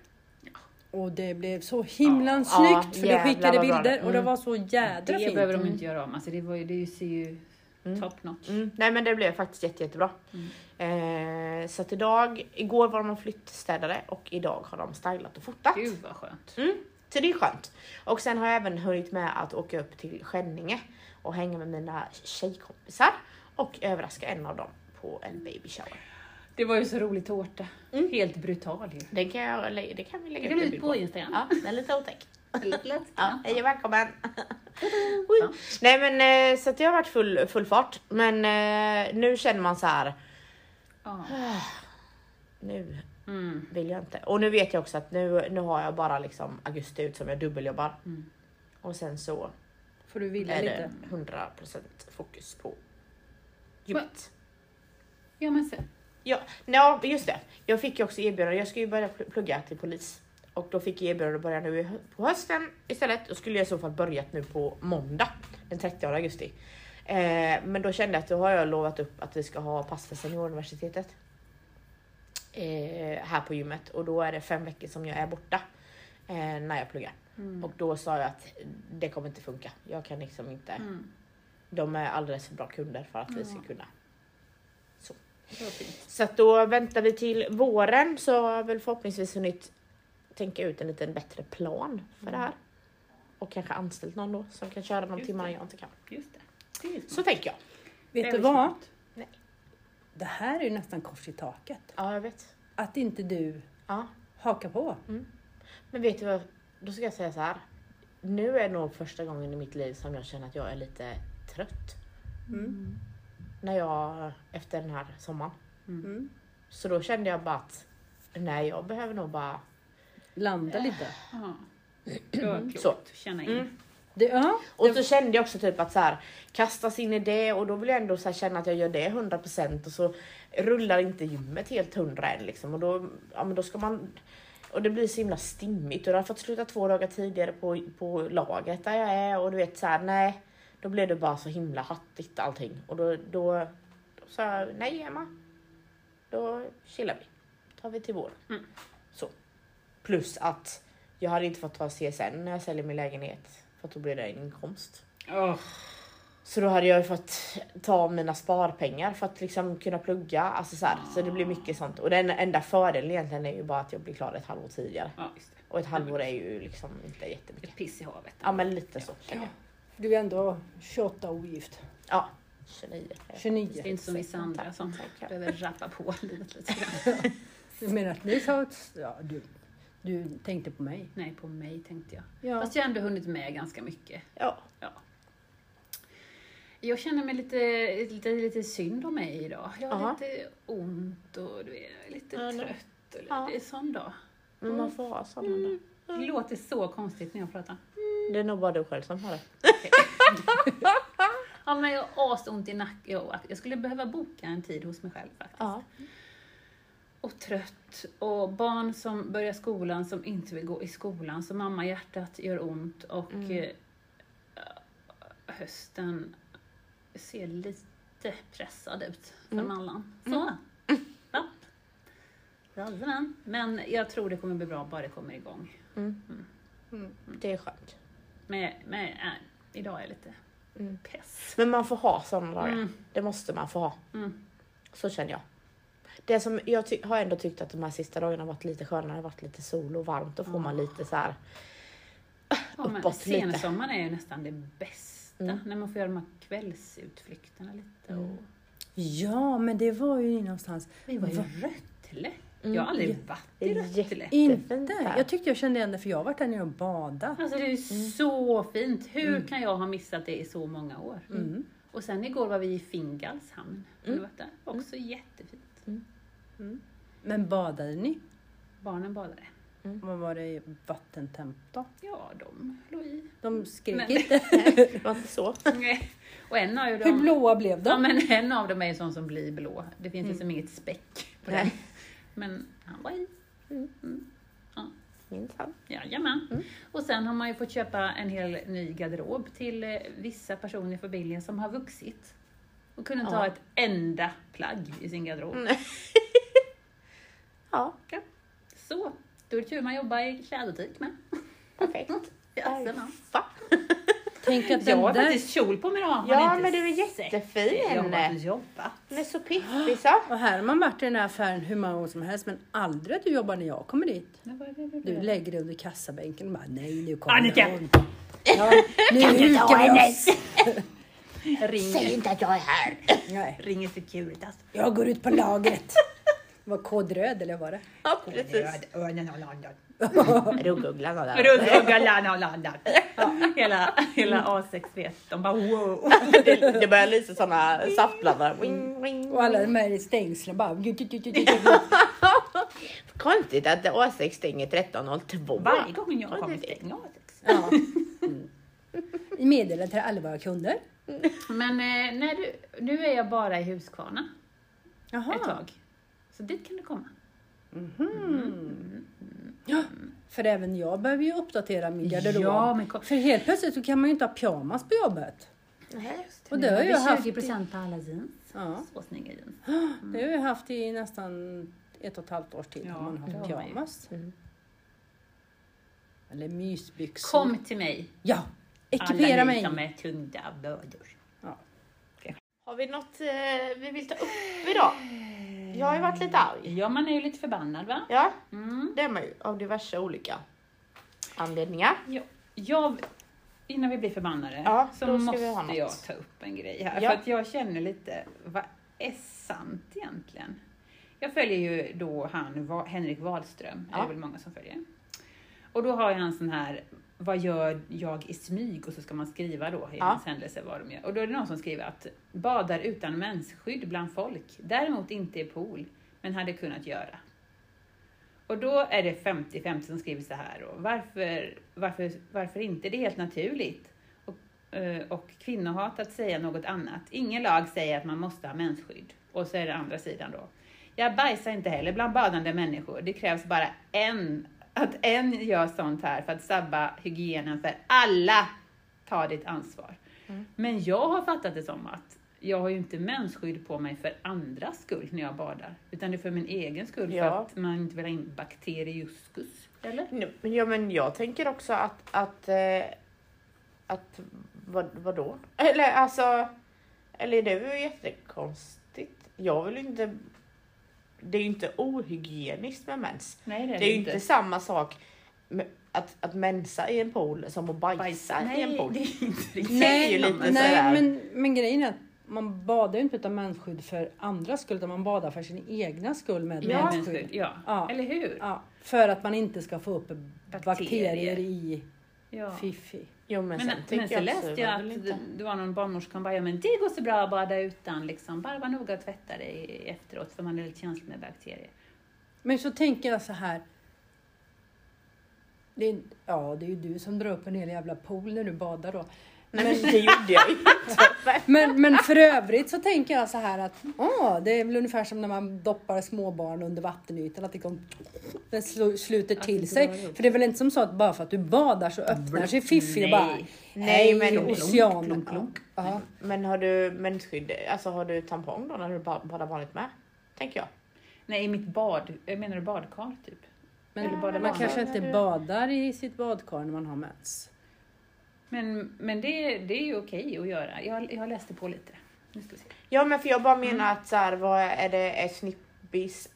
[SPEAKER 5] Och det blev så himla
[SPEAKER 2] Ja,
[SPEAKER 5] snyggt för
[SPEAKER 2] jävlar
[SPEAKER 5] du skickade
[SPEAKER 2] vad bra
[SPEAKER 5] bilder
[SPEAKER 2] det-
[SPEAKER 5] och det
[SPEAKER 2] mm.
[SPEAKER 5] var så jädra
[SPEAKER 1] Det
[SPEAKER 5] fint.
[SPEAKER 1] behöver de inte göra om. Alltså det, var ju, det ser ju top notch.
[SPEAKER 2] Mm, nej men det blev faktiskt jätte, jättebra. Eh, så att idag, igår var de och flyttstädade och idag har de stylat och fotat.
[SPEAKER 1] Gud vad skönt.
[SPEAKER 2] Så det är skönt. Och sen har jag även hunnit med att åka upp till Skänninge och hänga med mina tjejkompisar och överraska en av dem på en baby shower.
[SPEAKER 1] Det var ju så rolig tårta. Helt brutal ju.
[SPEAKER 2] Den kan, jag, lä- det kan vi lägga
[SPEAKER 1] Det
[SPEAKER 2] ut
[SPEAKER 1] blir
[SPEAKER 2] en
[SPEAKER 1] Mm.
[SPEAKER 2] bild
[SPEAKER 1] ut på Instagram.
[SPEAKER 2] Ja, den är lite otäck.
[SPEAKER 1] Lätt.
[SPEAKER 2] Ja, hej och välkommen. Oj. Nej men eh, så att jag har varit full, full fart men eh, nu känner man så här.
[SPEAKER 1] Ja.
[SPEAKER 2] nu
[SPEAKER 1] Mm.
[SPEAKER 2] vill jag inte. Och nu vet jag också att nu, nu har jag bara liksom augusti ut som jag dubbeljobbar.
[SPEAKER 1] Mm.
[SPEAKER 2] Och sen så
[SPEAKER 5] Får du vila
[SPEAKER 2] är
[SPEAKER 5] lite.
[SPEAKER 2] det 100% fokus på gymmet.
[SPEAKER 1] Ja men sen.
[SPEAKER 2] Ja, nej, just det. Jag fick ju också erbjudande. Jag ska ju börja pl- plugga till polis. Och då fick jag erbjudande att börja nu i hö- på hösten istället. Och skulle jag i så fall börjat nu på måndag den 30 augusti. Eh, men då kände jag att då har jag lovat upp att vi ska ha pass för senioruniversitetet. Eh, här på gymmet och då är det fem veckor som jag är borta eh, när jag pluggar. Och då sa jag att det kommer inte funka. Jag kan liksom inte.
[SPEAKER 1] Mm.
[SPEAKER 2] De är alldeles för bra kunder för att vi ska
[SPEAKER 1] Ja.
[SPEAKER 2] kunna
[SPEAKER 1] Det var fint.
[SPEAKER 2] så att då väntar vi till våren så har jag väl förhoppningsvis hunnit tänka ut en liten bättre plan för det här. Och kanske anställt någon då som kan köra de
[SPEAKER 1] Just
[SPEAKER 2] timmarna
[SPEAKER 1] det.
[SPEAKER 2] jag inte kan.
[SPEAKER 1] Just det. det är
[SPEAKER 2] Så tänker jag.
[SPEAKER 5] Vet
[SPEAKER 1] Det
[SPEAKER 5] du
[SPEAKER 1] är
[SPEAKER 5] vad?
[SPEAKER 1] smart.
[SPEAKER 5] Det här är ju nästan kors i taket.
[SPEAKER 2] Ja, jag vet.
[SPEAKER 5] Att inte du
[SPEAKER 2] Ja.
[SPEAKER 5] hakar på.
[SPEAKER 2] Men vet du vad? Då ska jag säga så här. Nu är nog första gången i mitt liv som jag känner att jag är lite trött.
[SPEAKER 5] Mm.
[SPEAKER 2] När jag, efter den här sommaren.
[SPEAKER 5] Mm.
[SPEAKER 2] Så då kände jag bara att nej, jag behöver nog bara...
[SPEAKER 5] Landa lite.
[SPEAKER 1] Ja. Det var klokt.
[SPEAKER 2] Så.
[SPEAKER 1] Känna in.
[SPEAKER 2] Mm.
[SPEAKER 5] Det, ja.
[SPEAKER 2] Och så kände jag också typ att så här, kastas in i det och då vill jag ändå så här känna att jag gör det 100% och så rullar inte gymmet helt hundra än liksom och då, ja, men då ska man och det blir så himla stimmigt och då har jag fått sluta två dagar tidigare på, på lagret där jag är och du vet så här, nej då blev det bara så himla hattigt allting och då, då, då sa jag nej Emma då chillar vi tar vi till våren
[SPEAKER 1] Mm.
[SPEAKER 2] så plus att jag hade inte fått ta CSN när jag säljer min lägenhet för att då blir det en inkomst.
[SPEAKER 1] Åh,
[SPEAKER 2] Så då hade jag ju fått ta av mina sparpengar för att liksom kunna plugga. Alltså så, här, så det blir mycket sånt. Och den enda fördelen egentligen är ju bara att jag blir klar ett halvår tidigare.
[SPEAKER 1] Ja, just det.
[SPEAKER 2] Och ett halvår är ju liksom inte jättemycket.
[SPEAKER 1] Ett piss i havet.
[SPEAKER 2] Ja men lite så känner jag.
[SPEAKER 5] Du är ändå 28 ogift.
[SPEAKER 2] Ja, 29.
[SPEAKER 5] 29.
[SPEAKER 1] Det är inte som vissa andra som
[SPEAKER 2] Tack.
[SPEAKER 1] behöver rappa på livet lite grann.
[SPEAKER 5] Du menar att ni sa att ja, du, du tänkte på mig?
[SPEAKER 1] Nej, på mig tänkte jag.
[SPEAKER 5] Ja.
[SPEAKER 1] Fast jag har ändå hunnit med ganska mycket.
[SPEAKER 2] Ja.
[SPEAKER 1] Ja. Jag känner mig lite, lite, lite synd om mig idag. Jag har
[SPEAKER 2] Ja.
[SPEAKER 1] lite ont och du vet, jag är lite
[SPEAKER 2] Ja, nu-
[SPEAKER 1] trött. Och lite,
[SPEAKER 2] Ja.
[SPEAKER 1] Det är en sån dag.
[SPEAKER 2] Men man får ha sådana där.
[SPEAKER 1] Det låter så konstigt när jag pratar.
[SPEAKER 2] Mm. Det är nog bara du själv som har det.
[SPEAKER 1] Ja, men jag har asont i nacken. Jag, jag skulle behöva boka en tid hos mig själv faktiskt.
[SPEAKER 2] Ja.
[SPEAKER 1] Och trött. Och barn som börjar skolan som inte vill gå i skolan. Så mamma hjärtat gör ont. Och eh, hösten ser lite pressad ut för mallan. Så. Va? Jajamän. Men jag tror det kommer bli bra bara det kommer igång.
[SPEAKER 2] Det är skönt.
[SPEAKER 1] Men, men äh, idag är jag lite
[SPEAKER 2] Mm.
[SPEAKER 1] pess.
[SPEAKER 2] Men man får ha sådana dagar.
[SPEAKER 1] Mm.
[SPEAKER 2] Det måste man få ha.
[SPEAKER 1] Mm.
[SPEAKER 2] Så känner jag. Det som jag ty- har ändå tyckt att de här sista dagarna har varit lite skönare, har varit lite sol och varmt. Då får man lite så här.
[SPEAKER 1] Ja, men
[SPEAKER 2] Uppåt lite.
[SPEAKER 1] sensommaren är ju nästan det bästa.
[SPEAKER 2] Mm.
[SPEAKER 1] När man får göra de här kvällsutflykterna lite. Och...
[SPEAKER 5] Ja, men det var ju någonstans.
[SPEAKER 1] Vi var i
[SPEAKER 5] Va?
[SPEAKER 1] Röttele. Jag har aldrig varit
[SPEAKER 2] Mm, Det
[SPEAKER 1] i
[SPEAKER 2] är
[SPEAKER 1] Röttele.
[SPEAKER 2] jättefint
[SPEAKER 5] Inte?
[SPEAKER 2] där.
[SPEAKER 5] Jag tyckte jag kände igen det för jag har varit där nere och badat.
[SPEAKER 1] Alltså det är ju
[SPEAKER 2] Mm.
[SPEAKER 1] så fint. Hur kan jag ha missat det i så många år?
[SPEAKER 5] Mm.
[SPEAKER 1] Och sen igår var vi i Fingalshamn. Har ni
[SPEAKER 2] Mm.
[SPEAKER 1] varit där? Också jättefint.
[SPEAKER 5] Men badade ni?
[SPEAKER 1] Barnen badade.
[SPEAKER 5] Vad var det i vattentemp då?
[SPEAKER 1] Ja, de låg i.
[SPEAKER 5] De skrek
[SPEAKER 1] Men-
[SPEAKER 5] inte.
[SPEAKER 2] Det var inte så.
[SPEAKER 1] Nej. Och en av
[SPEAKER 5] Hur
[SPEAKER 1] dem,
[SPEAKER 5] blåa blev de?
[SPEAKER 1] ja, men en av dem är ju sån som blir blå. Det finns liksom inget späck på den.
[SPEAKER 2] Mm. Nej.
[SPEAKER 1] Men han var i.
[SPEAKER 2] Minsann.
[SPEAKER 1] Jajamän. Och sen har man ju fått köpa en hel ny garderob till eh, vissa personer i familjen som har vuxit. Och kunde inte
[SPEAKER 2] Ja.
[SPEAKER 1] ha ett enda plagg i sin garderob.
[SPEAKER 2] Ja,
[SPEAKER 1] Så, då är det tur man jobbar i klädbutik med.
[SPEAKER 2] perfekt.
[SPEAKER 1] Jajamän.
[SPEAKER 2] Fan.
[SPEAKER 5] Tänk att
[SPEAKER 1] Jag
[SPEAKER 5] den
[SPEAKER 1] har
[SPEAKER 5] där...
[SPEAKER 1] faktiskt kjol på mig idag. Har ni
[SPEAKER 2] Ja,
[SPEAKER 1] inte
[SPEAKER 2] men du är
[SPEAKER 1] sett? Jag har
[SPEAKER 2] jättefin.
[SPEAKER 1] varit och jobbat.
[SPEAKER 2] Den är så piffig så.
[SPEAKER 5] Och här har man varit i den här affären hur många gånger som helst men aldrig att du jobbar när jag kommer dit. Du lägger dig under kassabänken och bara nej nu kommer
[SPEAKER 1] Mm. Annika!
[SPEAKER 5] hon. Ja, nu hukar vi oss.
[SPEAKER 1] Ringer,
[SPEAKER 2] inte att jag är här.
[SPEAKER 5] Nej,
[SPEAKER 1] ringer Securitas.
[SPEAKER 5] jag går ut på lagret. Var kod röd eller vad var det?
[SPEAKER 2] Ja, precis.
[SPEAKER 1] Örnen har landat.
[SPEAKER 2] Rugguglan var där.
[SPEAKER 1] Runt och galan har landat. Ja, Hela, hela A6 vet. De bara wow.
[SPEAKER 2] Det, det börjar lysa sådana saftblandare. Wing, wing,
[SPEAKER 5] Och alla
[SPEAKER 2] wing.
[SPEAKER 5] de här i stängslen bara...
[SPEAKER 2] Konstigt att A6 stänger 13.02.
[SPEAKER 1] Varje gång jag
[SPEAKER 2] Ja,
[SPEAKER 1] kommer
[SPEAKER 2] det-
[SPEAKER 1] stänger jag A6.
[SPEAKER 2] liksom.
[SPEAKER 5] Ja. Meddelande till alla våra kunder.
[SPEAKER 1] Men eh, när du, nu är jag bara i Huskvarna ett
[SPEAKER 5] Jaha.
[SPEAKER 1] tag. Så dit kan du komma.
[SPEAKER 5] För även jag behöver ju uppdatera min garderob.
[SPEAKER 1] Ja, men kom-
[SPEAKER 5] För helt plötsligt så kan man ju inte ha pyjamas på jobbet.
[SPEAKER 2] Nej.
[SPEAKER 5] Och det har jag haft.
[SPEAKER 1] 20% på alla jeans.
[SPEAKER 5] Ja.
[SPEAKER 1] Så snygga jeans.
[SPEAKER 5] Det har jag haft i nästan ett och ett halvt års tid.
[SPEAKER 1] Ja,
[SPEAKER 5] Ja, man har Mm.
[SPEAKER 1] det
[SPEAKER 5] haft
[SPEAKER 1] har man ju.
[SPEAKER 5] pyjamas. Eller mysbyxor.
[SPEAKER 1] Kom till mig.
[SPEAKER 5] Ja!
[SPEAKER 1] alla ni
[SPEAKER 5] Ekipera mig.
[SPEAKER 1] som är tyngda av bördor.
[SPEAKER 2] Har vi något eh, vi vill ta upp idag? Jag har ju varit lite arg.
[SPEAKER 1] Ja, man är ju lite förbannad va?
[SPEAKER 2] Ja,
[SPEAKER 1] Mm.
[SPEAKER 2] det är man ju av diverse olika anledningar.
[SPEAKER 1] Ja. Jag, innan vi blir förbannade
[SPEAKER 2] Ja, då
[SPEAKER 1] så
[SPEAKER 2] ska vi ha
[SPEAKER 1] måste
[SPEAKER 2] något.
[SPEAKER 1] jag ta upp en grej här.
[SPEAKER 2] Ja.
[SPEAKER 1] För att jag känner lite, vad är sant egentligen? Jag följer ju då han, Va- Henrik Wahlström, är
[SPEAKER 2] Ja.
[SPEAKER 1] det väl många som följer. Och då har jag en sån här, vad gör jag i smyg? Och så ska man skriva då i
[SPEAKER 2] Ja.
[SPEAKER 1] hans händelse vad de gör. Och då är det någon som skriver att badar utan mensskydd bland folk, däremot inte i pool, men hade kunnat göra. Och då är det 50-50 som skriver så här då. Varför, varför, varför inte? Det är helt naturligt. Och, eh, och kvinnohat att säga något annat. Ingen lag säger att man måste ha mensskydd. Och så är det andra sidan då. Jag bajsar inte heller bland badande människor. Det krävs bara en, att en gör sånt här för att sabba hygienen för alla. Ta ditt ansvar. Men jag har fattat det som att jag har ju inte mensskydd på mig för andras skull när jag badar. Utan det är för min egen skull,
[SPEAKER 2] Ja.
[SPEAKER 1] för att man inte vill ha in bakteriuskus. Eller?
[SPEAKER 2] Nej, men- Ja, men jag tänker också att... att, eh, att vad, vadå? Eller alltså... Eller det är ju jättekonstigt. Jag vill ju inte... Det är ju inte ohygieniskt med mens.
[SPEAKER 1] Nej, det är
[SPEAKER 2] Det är ju inte samma sak med att, att mensa i en pool som att bajsa, i en pool.
[SPEAKER 1] Nej, det är inte riktigt.
[SPEAKER 2] Nej, ju lite sådär.
[SPEAKER 5] nej men, men grejen är att man badar ju inte utan mensskydd för andras skull utan man badar för sin egna skull med
[SPEAKER 1] Ja,
[SPEAKER 5] mensskydd.
[SPEAKER 1] ja.
[SPEAKER 5] Ja.
[SPEAKER 1] eller hur?
[SPEAKER 5] Ja, för att man inte ska få upp bakterier,
[SPEAKER 1] Bakterier.
[SPEAKER 5] i
[SPEAKER 1] Ja.
[SPEAKER 5] fiffi.
[SPEAKER 2] Jo, men,
[SPEAKER 1] Men, men,
[SPEAKER 2] sen tycker
[SPEAKER 1] så
[SPEAKER 2] jag
[SPEAKER 1] läste jag att det, det var någon barnmorska som bara, ja men det går så bra att bada utan liksom. Bara var noga att tvätta dig efteråt för man är lite känslig med bakterier.
[SPEAKER 5] Men så tänker jag så här. Det är, ja, det är ju du som drar upp en hel jävla pool när du badar då.
[SPEAKER 2] Nej, men det gjorde jag ju inte.
[SPEAKER 5] Men, men för övrigt så tänker jag så här att åh, det är väl ungefär som när man doppar småbarn under vattenytan, att det kom, den slu- sluter till sig. För det är väl inte som så att bara för att du badar så öppnar sig Fiffi och bara
[SPEAKER 1] Nej.
[SPEAKER 2] Nej, men-
[SPEAKER 5] "Hej, ocean.
[SPEAKER 1] Klonk, klonk, klonk.
[SPEAKER 5] Ja.
[SPEAKER 2] Men har du mensskydd, alltså har du tampong då när du ba- badar vanligt med? Tänker jag.
[SPEAKER 1] Nej, i mitt bad, jag menar badkar typ. Eller
[SPEAKER 5] Men
[SPEAKER 1] badar
[SPEAKER 5] man
[SPEAKER 1] man?
[SPEAKER 5] kanske inte badar i sitt badkar när man har mens.
[SPEAKER 1] Men, men det, det är ju okej att göra. Jag, jag läste på lite. Nu ska vi se.
[SPEAKER 2] Ja men för jag bara menar
[SPEAKER 1] Mm.
[SPEAKER 2] att så här, vad är det, är snippis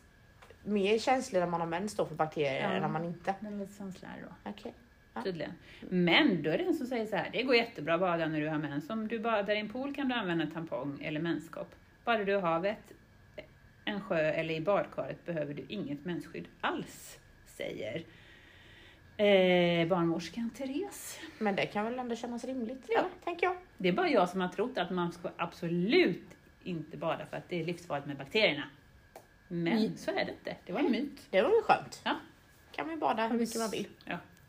[SPEAKER 2] mer känslig när man har mens då för bakterier
[SPEAKER 1] Ja.
[SPEAKER 2] än när man inte?
[SPEAKER 1] Den är lite känslig här då.
[SPEAKER 2] Okej. Ja.
[SPEAKER 1] Tydligen. Men då är det en som säger så här, det går jättebra att bada när du har mens. Om du badar i en pool kan du använda tampong eller menskopp. Badar du i havet, en sjö eller i badkaret behöver du inget mensskydd alls, säger eh, barnmorskan Therese.
[SPEAKER 2] Men det kan väl ändå kännas rimligt,
[SPEAKER 1] Ja.
[SPEAKER 2] eller? tänker jag.
[SPEAKER 1] Det är bara jag som har trott att man ska absolut inte bada för att det är livsfarligt med bakterierna. Men
[SPEAKER 5] Mm.
[SPEAKER 1] så är det inte. Det var en myt.
[SPEAKER 2] Det var ju skönt.
[SPEAKER 1] Ja.
[SPEAKER 2] Kan man ju bada hur mycket man vill.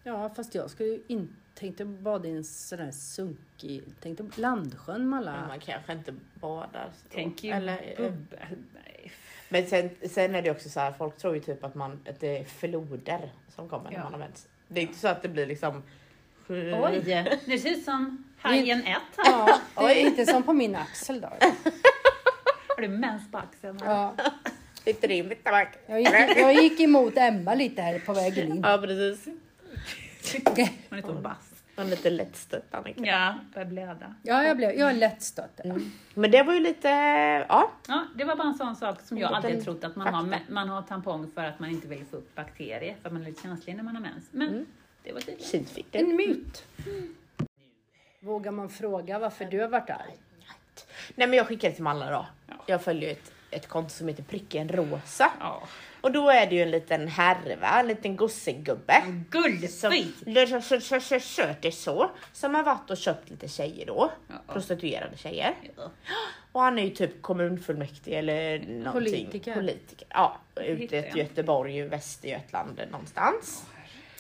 [SPEAKER 5] Ja, fast jag skulle ju inte tänkte bada i en sån här sunkig, tänkte Landsjön med
[SPEAKER 2] Men
[SPEAKER 5] alla...
[SPEAKER 2] man kanske inte badar. så.
[SPEAKER 1] Tänk ju
[SPEAKER 2] Eller, eh,
[SPEAKER 1] bubba. Nej,
[SPEAKER 2] men sen, sen är det också så här, folk tror ju typ att, man, att det är floder som kommer när
[SPEAKER 1] Ja.
[SPEAKER 2] man har mens. Det är inte så att det blir liksom...
[SPEAKER 1] Oj, nu ser det ut som Hajen 1 här.
[SPEAKER 5] Ja, det är inte som på min axel då.
[SPEAKER 1] Har du mens på axeln?
[SPEAKER 5] Ja,
[SPEAKER 2] Sitter det in mitt taback?
[SPEAKER 5] jag, gick, jag gick emot Emma lite här på vägen in.
[SPEAKER 2] Ja precis.
[SPEAKER 1] Hon är så vass.
[SPEAKER 2] Och lite lättstött Annika.
[SPEAKER 1] Ja, börjar blöda.
[SPEAKER 5] Ja, jag, blev, jag är lättstött.
[SPEAKER 2] Men det var ju lite, ja.
[SPEAKER 1] Ja, det var bara en sån sak som jag
[SPEAKER 2] En
[SPEAKER 1] aldrig
[SPEAKER 2] liten
[SPEAKER 1] trott att man har,
[SPEAKER 2] fakta.
[SPEAKER 1] mä- man har tampong för att man inte vill få upp bakterier, för att man är lite känslig när man har mens. Men
[SPEAKER 2] Mm.
[SPEAKER 1] det var tydligt.
[SPEAKER 2] Fint fick det.
[SPEAKER 5] En myt. Vågar man fråga varför du har varit arg?
[SPEAKER 2] Nej men jag skickade till Malla då.
[SPEAKER 1] Ja.
[SPEAKER 2] Jag följer ju ett, ett konto som heter Pricken Rosa.
[SPEAKER 1] Ja,
[SPEAKER 2] Och då är det ju en liten härva, en liten gossegubbe.
[SPEAKER 1] en
[SPEAKER 2] Som
[SPEAKER 1] guldfit!
[SPEAKER 2] sköter så. Som har varit och köpt lite tjejer då.
[SPEAKER 1] Ja.
[SPEAKER 2] Prostituerade tjejer.
[SPEAKER 1] Ja.
[SPEAKER 2] Och han är ju typ kommunfullmäktige eller någonting.
[SPEAKER 5] Politiker.
[SPEAKER 2] Politiker. Ja,
[SPEAKER 1] hittar
[SPEAKER 2] ute
[SPEAKER 1] jag
[SPEAKER 2] i
[SPEAKER 1] inte.
[SPEAKER 2] Göteborg, Västergötland någonstans.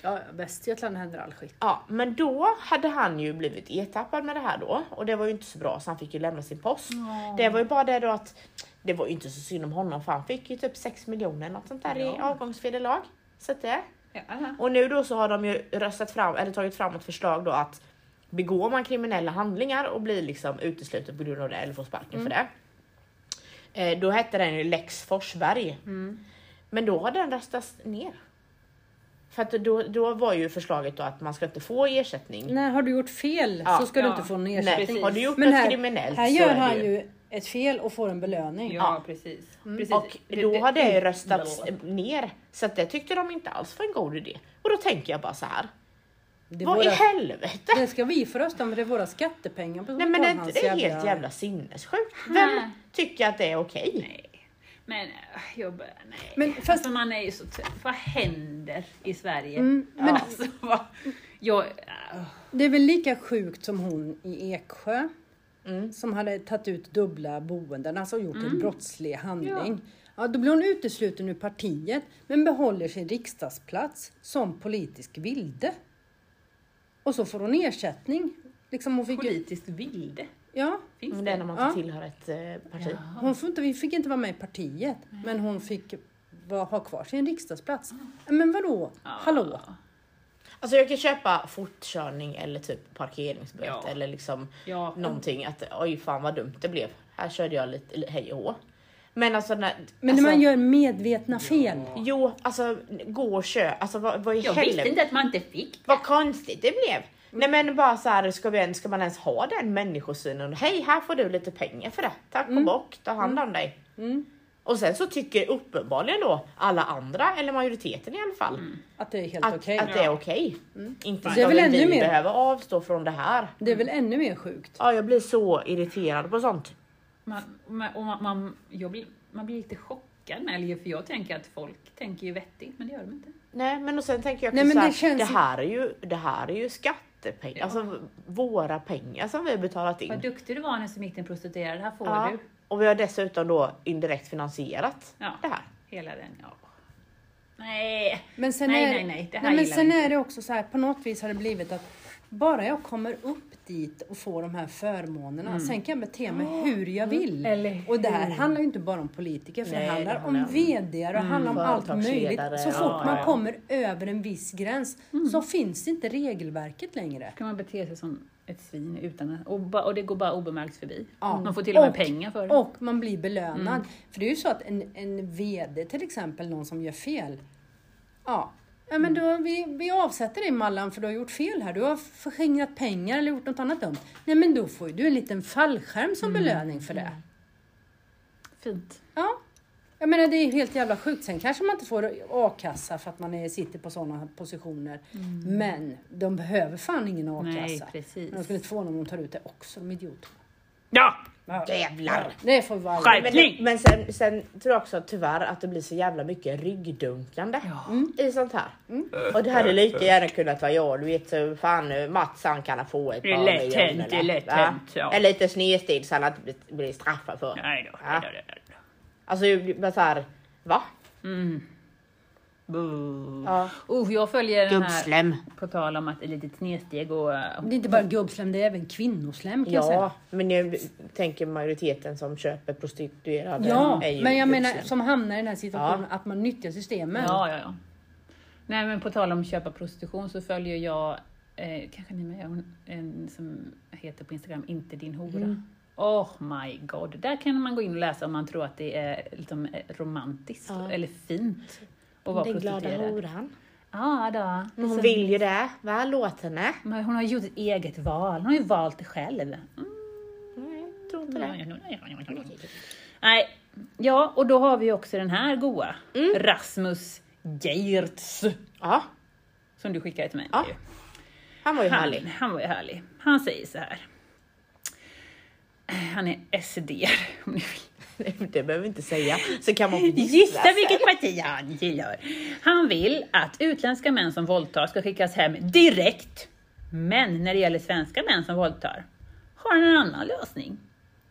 [SPEAKER 5] Ja, Västergötland händer all skit.
[SPEAKER 2] Ja, men då hade han ju blivit ertappad med det här då och det var ju inte så bra så han fick ju lämna sin post. Det var ju bara det då att det var ju inte så synd om honom för han fick ju typ 6 miljoner något sånt där i
[SPEAKER 1] Ja.
[SPEAKER 2] avgångsvederlag. Så att det.
[SPEAKER 1] Ja.
[SPEAKER 2] Och nu då så har de ju röstat fram eller tagit fram ett förslag då att begår man kriminella handlingar och blir liksom utesluten på grund av det eller får sparken för det. Eh, då hette den ju Lex Forsberg. Men då har den röstats ner. För att då, då var ju förslaget då att man ska inte få ersättning.
[SPEAKER 5] Nej, har du gjort fel
[SPEAKER 2] Ja.
[SPEAKER 5] så ska du
[SPEAKER 1] Ja.
[SPEAKER 5] inte få någon
[SPEAKER 2] Nej,
[SPEAKER 5] ersättning.
[SPEAKER 1] precis.
[SPEAKER 2] har du gjort
[SPEAKER 5] Men
[SPEAKER 2] något
[SPEAKER 5] här,
[SPEAKER 2] kriminellt
[SPEAKER 5] här
[SPEAKER 2] så
[SPEAKER 5] gör
[SPEAKER 2] är det
[SPEAKER 5] han ju ett fel och får en belöning.
[SPEAKER 1] Ja, precis. precis.
[SPEAKER 2] Mm. Och då har det ju röstats ner. Så att det tyckte de inte alls var en god idé. Och då tänker jag bara så här.
[SPEAKER 5] Det, är
[SPEAKER 2] vad i
[SPEAKER 5] våra,
[SPEAKER 2] helvete?
[SPEAKER 5] det ska vi få rösta om, för det är våra skattepengar. På
[SPEAKER 2] Nej men
[SPEAKER 5] hans
[SPEAKER 2] det, det är helt jävla sinnessjukt.
[SPEAKER 1] Nej.
[SPEAKER 2] Vem tycker att det är okej?
[SPEAKER 1] Nej. Men äh, jag bara, nej.
[SPEAKER 5] Men
[SPEAKER 1] Men
[SPEAKER 5] fast-
[SPEAKER 1] fast man är ju så trött. Vad händer i Sverige?
[SPEAKER 5] Mm, men-
[SPEAKER 1] alltså, vad, jag, äh,
[SPEAKER 5] Det är väl lika sjukt som hon i Eksjö.
[SPEAKER 2] Mm.
[SPEAKER 5] Som hade tagit ut dubbla boenden, alltså gjort en brottslig handling. Ja. då blir hon utesluten ur partiet men behåller sin riksdagsplats som politisk vilde. Och så får hon ersättning. Liksom hon fick ju,
[SPEAKER 1] politiskt vilde,
[SPEAKER 5] ja,
[SPEAKER 1] finns
[SPEAKER 2] Men det är när
[SPEAKER 1] det?
[SPEAKER 2] man får
[SPEAKER 5] Ja.
[SPEAKER 2] tillhöra ett eh, parti.
[SPEAKER 5] hon får inte, vi fick inte vara med i partiet men hon fick va, ha kvar sin riksdagsplats. Men vadå?
[SPEAKER 2] Ah.
[SPEAKER 5] Hallå?
[SPEAKER 2] Alltså jag kan köpa fortkörning eller typ parkeringsböter
[SPEAKER 1] Ja.
[SPEAKER 2] eller liksom
[SPEAKER 1] Ja,
[SPEAKER 2] någonting att oj fan vad dumt det blev. Här körde jag lite eller hej och hå. Men alltså när...
[SPEAKER 5] Men
[SPEAKER 2] alltså,
[SPEAKER 5] när man gör medvetna fel.
[SPEAKER 2] Jo, alltså gå och kö. Alltså vad, vad i
[SPEAKER 1] jag
[SPEAKER 2] helvete?
[SPEAKER 1] visste inte att man inte fick.
[SPEAKER 2] Vad konstigt det blev. Nej men bara så här, ska, vi, ens- ska man ens ha den människosynen? Hej, här får du lite pengar för det. Tack
[SPEAKER 5] Mm.
[SPEAKER 2] och bock, ta hand om dig. Och sen så tycker uppenbarligen då alla andra, eller majoriteten i alla fall,
[SPEAKER 5] Att det är helt
[SPEAKER 2] att,
[SPEAKER 5] Mm. okej. Mm.
[SPEAKER 2] att det är okej. Inte
[SPEAKER 5] Det är
[SPEAKER 2] ska
[SPEAKER 5] väl
[SPEAKER 2] väl
[SPEAKER 5] ännu
[SPEAKER 2] vi
[SPEAKER 5] mer-
[SPEAKER 2] behöva avstå från det här.
[SPEAKER 5] Det är väl ännu mer sjukt?
[SPEAKER 2] Ja, jag blir så irriterad på sånt.
[SPEAKER 1] Man, man, och man, man, jag blir, man blir lite chockad, med, det, för jag tänker att folk tänker ju vettigt, men det gör de inte.
[SPEAKER 2] Nej, men och sen tänker jag också
[SPEAKER 5] Nej, men
[SPEAKER 2] så här,
[SPEAKER 5] det
[SPEAKER 2] det,
[SPEAKER 5] känns ju-
[SPEAKER 2] här är ju, det här är ju skatt skattepengar, alltså våra pengar som vi har betalat
[SPEAKER 1] Vad
[SPEAKER 5] Mm.
[SPEAKER 2] in.
[SPEAKER 1] duktig du var nu som gick den prostituerade. Här får
[SPEAKER 2] Ja,
[SPEAKER 1] du
[SPEAKER 2] och vi har dessutom då indirekt finansierat
[SPEAKER 1] Ja.
[SPEAKER 2] det här.
[SPEAKER 1] hela den. Ja. Nej,
[SPEAKER 5] Men sen
[SPEAKER 1] Nej,
[SPEAKER 5] är,
[SPEAKER 1] nej, nej, det här
[SPEAKER 5] nej, men
[SPEAKER 1] gillar
[SPEAKER 5] sen
[SPEAKER 1] vi inte.
[SPEAKER 5] är det också så här, på något vis har det blivit att bara jag kommer upp dit och får de här förmånerna, sen kan jag bete mig hur jag vill.
[SPEAKER 1] Mm. eller hur?
[SPEAKER 5] Och det här handlar ju inte bara om politiker, för
[SPEAKER 2] Nej,
[SPEAKER 5] det
[SPEAKER 2] det
[SPEAKER 5] handlar om
[SPEAKER 2] handlar om-
[SPEAKER 5] VD
[SPEAKER 1] Mm.
[SPEAKER 5] och det handlar om allt möjligt.
[SPEAKER 2] företagsledare,
[SPEAKER 5] Så fort
[SPEAKER 2] ja,
[SPEAKER 5] man
[SPEAKER 2] ja.
[SPEAKER 5] kommer över en viss gräns så
[SPEAKER 1] Mm.
[SPEAKER 5] finns inte regelverket längre.
[SPEAKER 1] kan man bete sig som ett svin utan och, ba, och det går bara obemärkt förbi.
[SPEAKER 5] Ja.
[SPEAKER 1] Man får till och med
[SPEAKER 5] Och-
[SPEAKER 1] pengar för det.
[SPEAKER 5] Och man blir belönad.
[SPEAKER 1] Mm.
[SPEAKER 5] För det är ju så att en, en VD till exempel, någon som gör fel. Ja, ja men
[SPEAKER 1] Mm.
[SPEAKER 5] då, vi, vi avsätter dig Mallan för du har gjort fel här. Du har förskingrat pengar eller gjort något annat dumt. Nej men då får ju du en liten fallskärm som
[SPEAKER 1] Mm.
[SPEAKER 5] belöning för det.
[SPEAKER 1] Fint.
[SPEAKER 5] Ja. Jag menar det är ju helt jävla sjukt. Sen kanske man inte får a-kassa för att man är, sitter på sådana positioner. Men de behöver fan ingen
[SPEAKER 1] Mm. Nej,
[SPEAKER 5] a-kassa.
[SPEAKER 1] precis.
[SPEAKER 5] Men de skulle inte få någon om de tar ut det också, de idioter.
[SPEAKER 1] Ja!
[SPEAKER 2] Jävlar!
[SPEAKER 5] Det får vi aldrig.
[SPEAKER 1] Skärpning!
[SPEAKER 2] Men sen, sen tror jag också tyvärr att det blir så jävla mycket ryggdunkande i sånt här. Och det hade lika gärna kunnat vara jag. Du vet så fan eh, Mats han kan få ett
[SPEAKER 1] Det är
[SPEAKER 2] par
[SPEAKER 1] lätt
[SPEAKER 2] miljoner,
[SPEAKER 1] hänt, det är
[SPEAKER 2] va?
[SPEAKER 1] lätt hänt, ja.
[SPEAKER 2] En liten snedstil så han inte blir- blir straffad för.
[SPEAKER 1] Nej då.
[SPEAKER 2] Ja.
[SPEAKER 1] Nej då, nej då, nej då.
[SPEAKER 2] Alltså men så här, va?
[SPEAKER 1] Boo.
[SPEAKER 2] Ja.
[SPEAKER 1] Oh, jag följer den här,
[SPEAKER 2] Gubbslem.
[SPEAKER 1] på tal om att ett litet snedsteg och... eh,
[SPEAKER 5] Det är inte bara gubbslem, det är även kvinnoslem kan jag säga.
[SPEAKER 2] Ja, men jag tänker majoriteten som köper prostituerade
[SPEAKER 5] Ja,
[SPEAKER 2] är ju
[SPEAKER 5] men jag menar
[SPEAKER 2] gubbslem.
[SPEAKER 5] som hamnar i den här situationen att man nyttjar systemen.
[SPEAKER 1] Ja, ja, ja. Nej, men på tal om köpa prostitution så följer jag, eh, kanske ni med, hon- en som heter på Instagram Inte din hora.
[SPEAKER 2] Mm.
[SPEAKER 1] Oh my god, där kan man gå in och läsa om man tror att det är liksom eh, romantiskt
[SPEAKER 2] Ja.
[SPEAKER 1] eller fint att vara
[SPEAKER 2] Den glada
[SPEAKER 1] prostituerad.
[SPEAKER 2] horan.
[SPEAKER 1] Ja, då.
[SPEAKER 2] Hon
[SPEAKER 1] Så-
[SPEAKER 2] vill ju det, va? Låt henne.
[SPEAKER 1] men hon har gjort ett eget val, hon har ju valt det
[SPEAKER 2] Mm.
[SPEAKER 1] själv.
[SPEAKER 2] Nej, jag tror inte det.
[SPEAKER 1] Nej, ja, och då har vi också den här goa.
[SPEAKER 2] Mm.
[SPEAKER 1] Rasmus Geertz,
[SPEAKER 2] Ja,
[SPEAKER 1] som du skickade till mig.
[SPEAKER 2] Ja.
[SPEAKER 1] ju.
[SPEAKER 2] han var ju
[SPEAKER 1] han,
[SPEAKER 2] härlig.
[SPEAKER 1] han var ju härlig. Han säger så här. Han är SD om ni vill.
[SPEAKER 2] Det behöver vi inte säga, så kan man få
[SPEAKER 1] Gissa vilket parti han tillhör. Han vill att utländska män som våldtar ska skickas hem direkt. Men när det gäller svenska män som våldtar har han en annan lösning.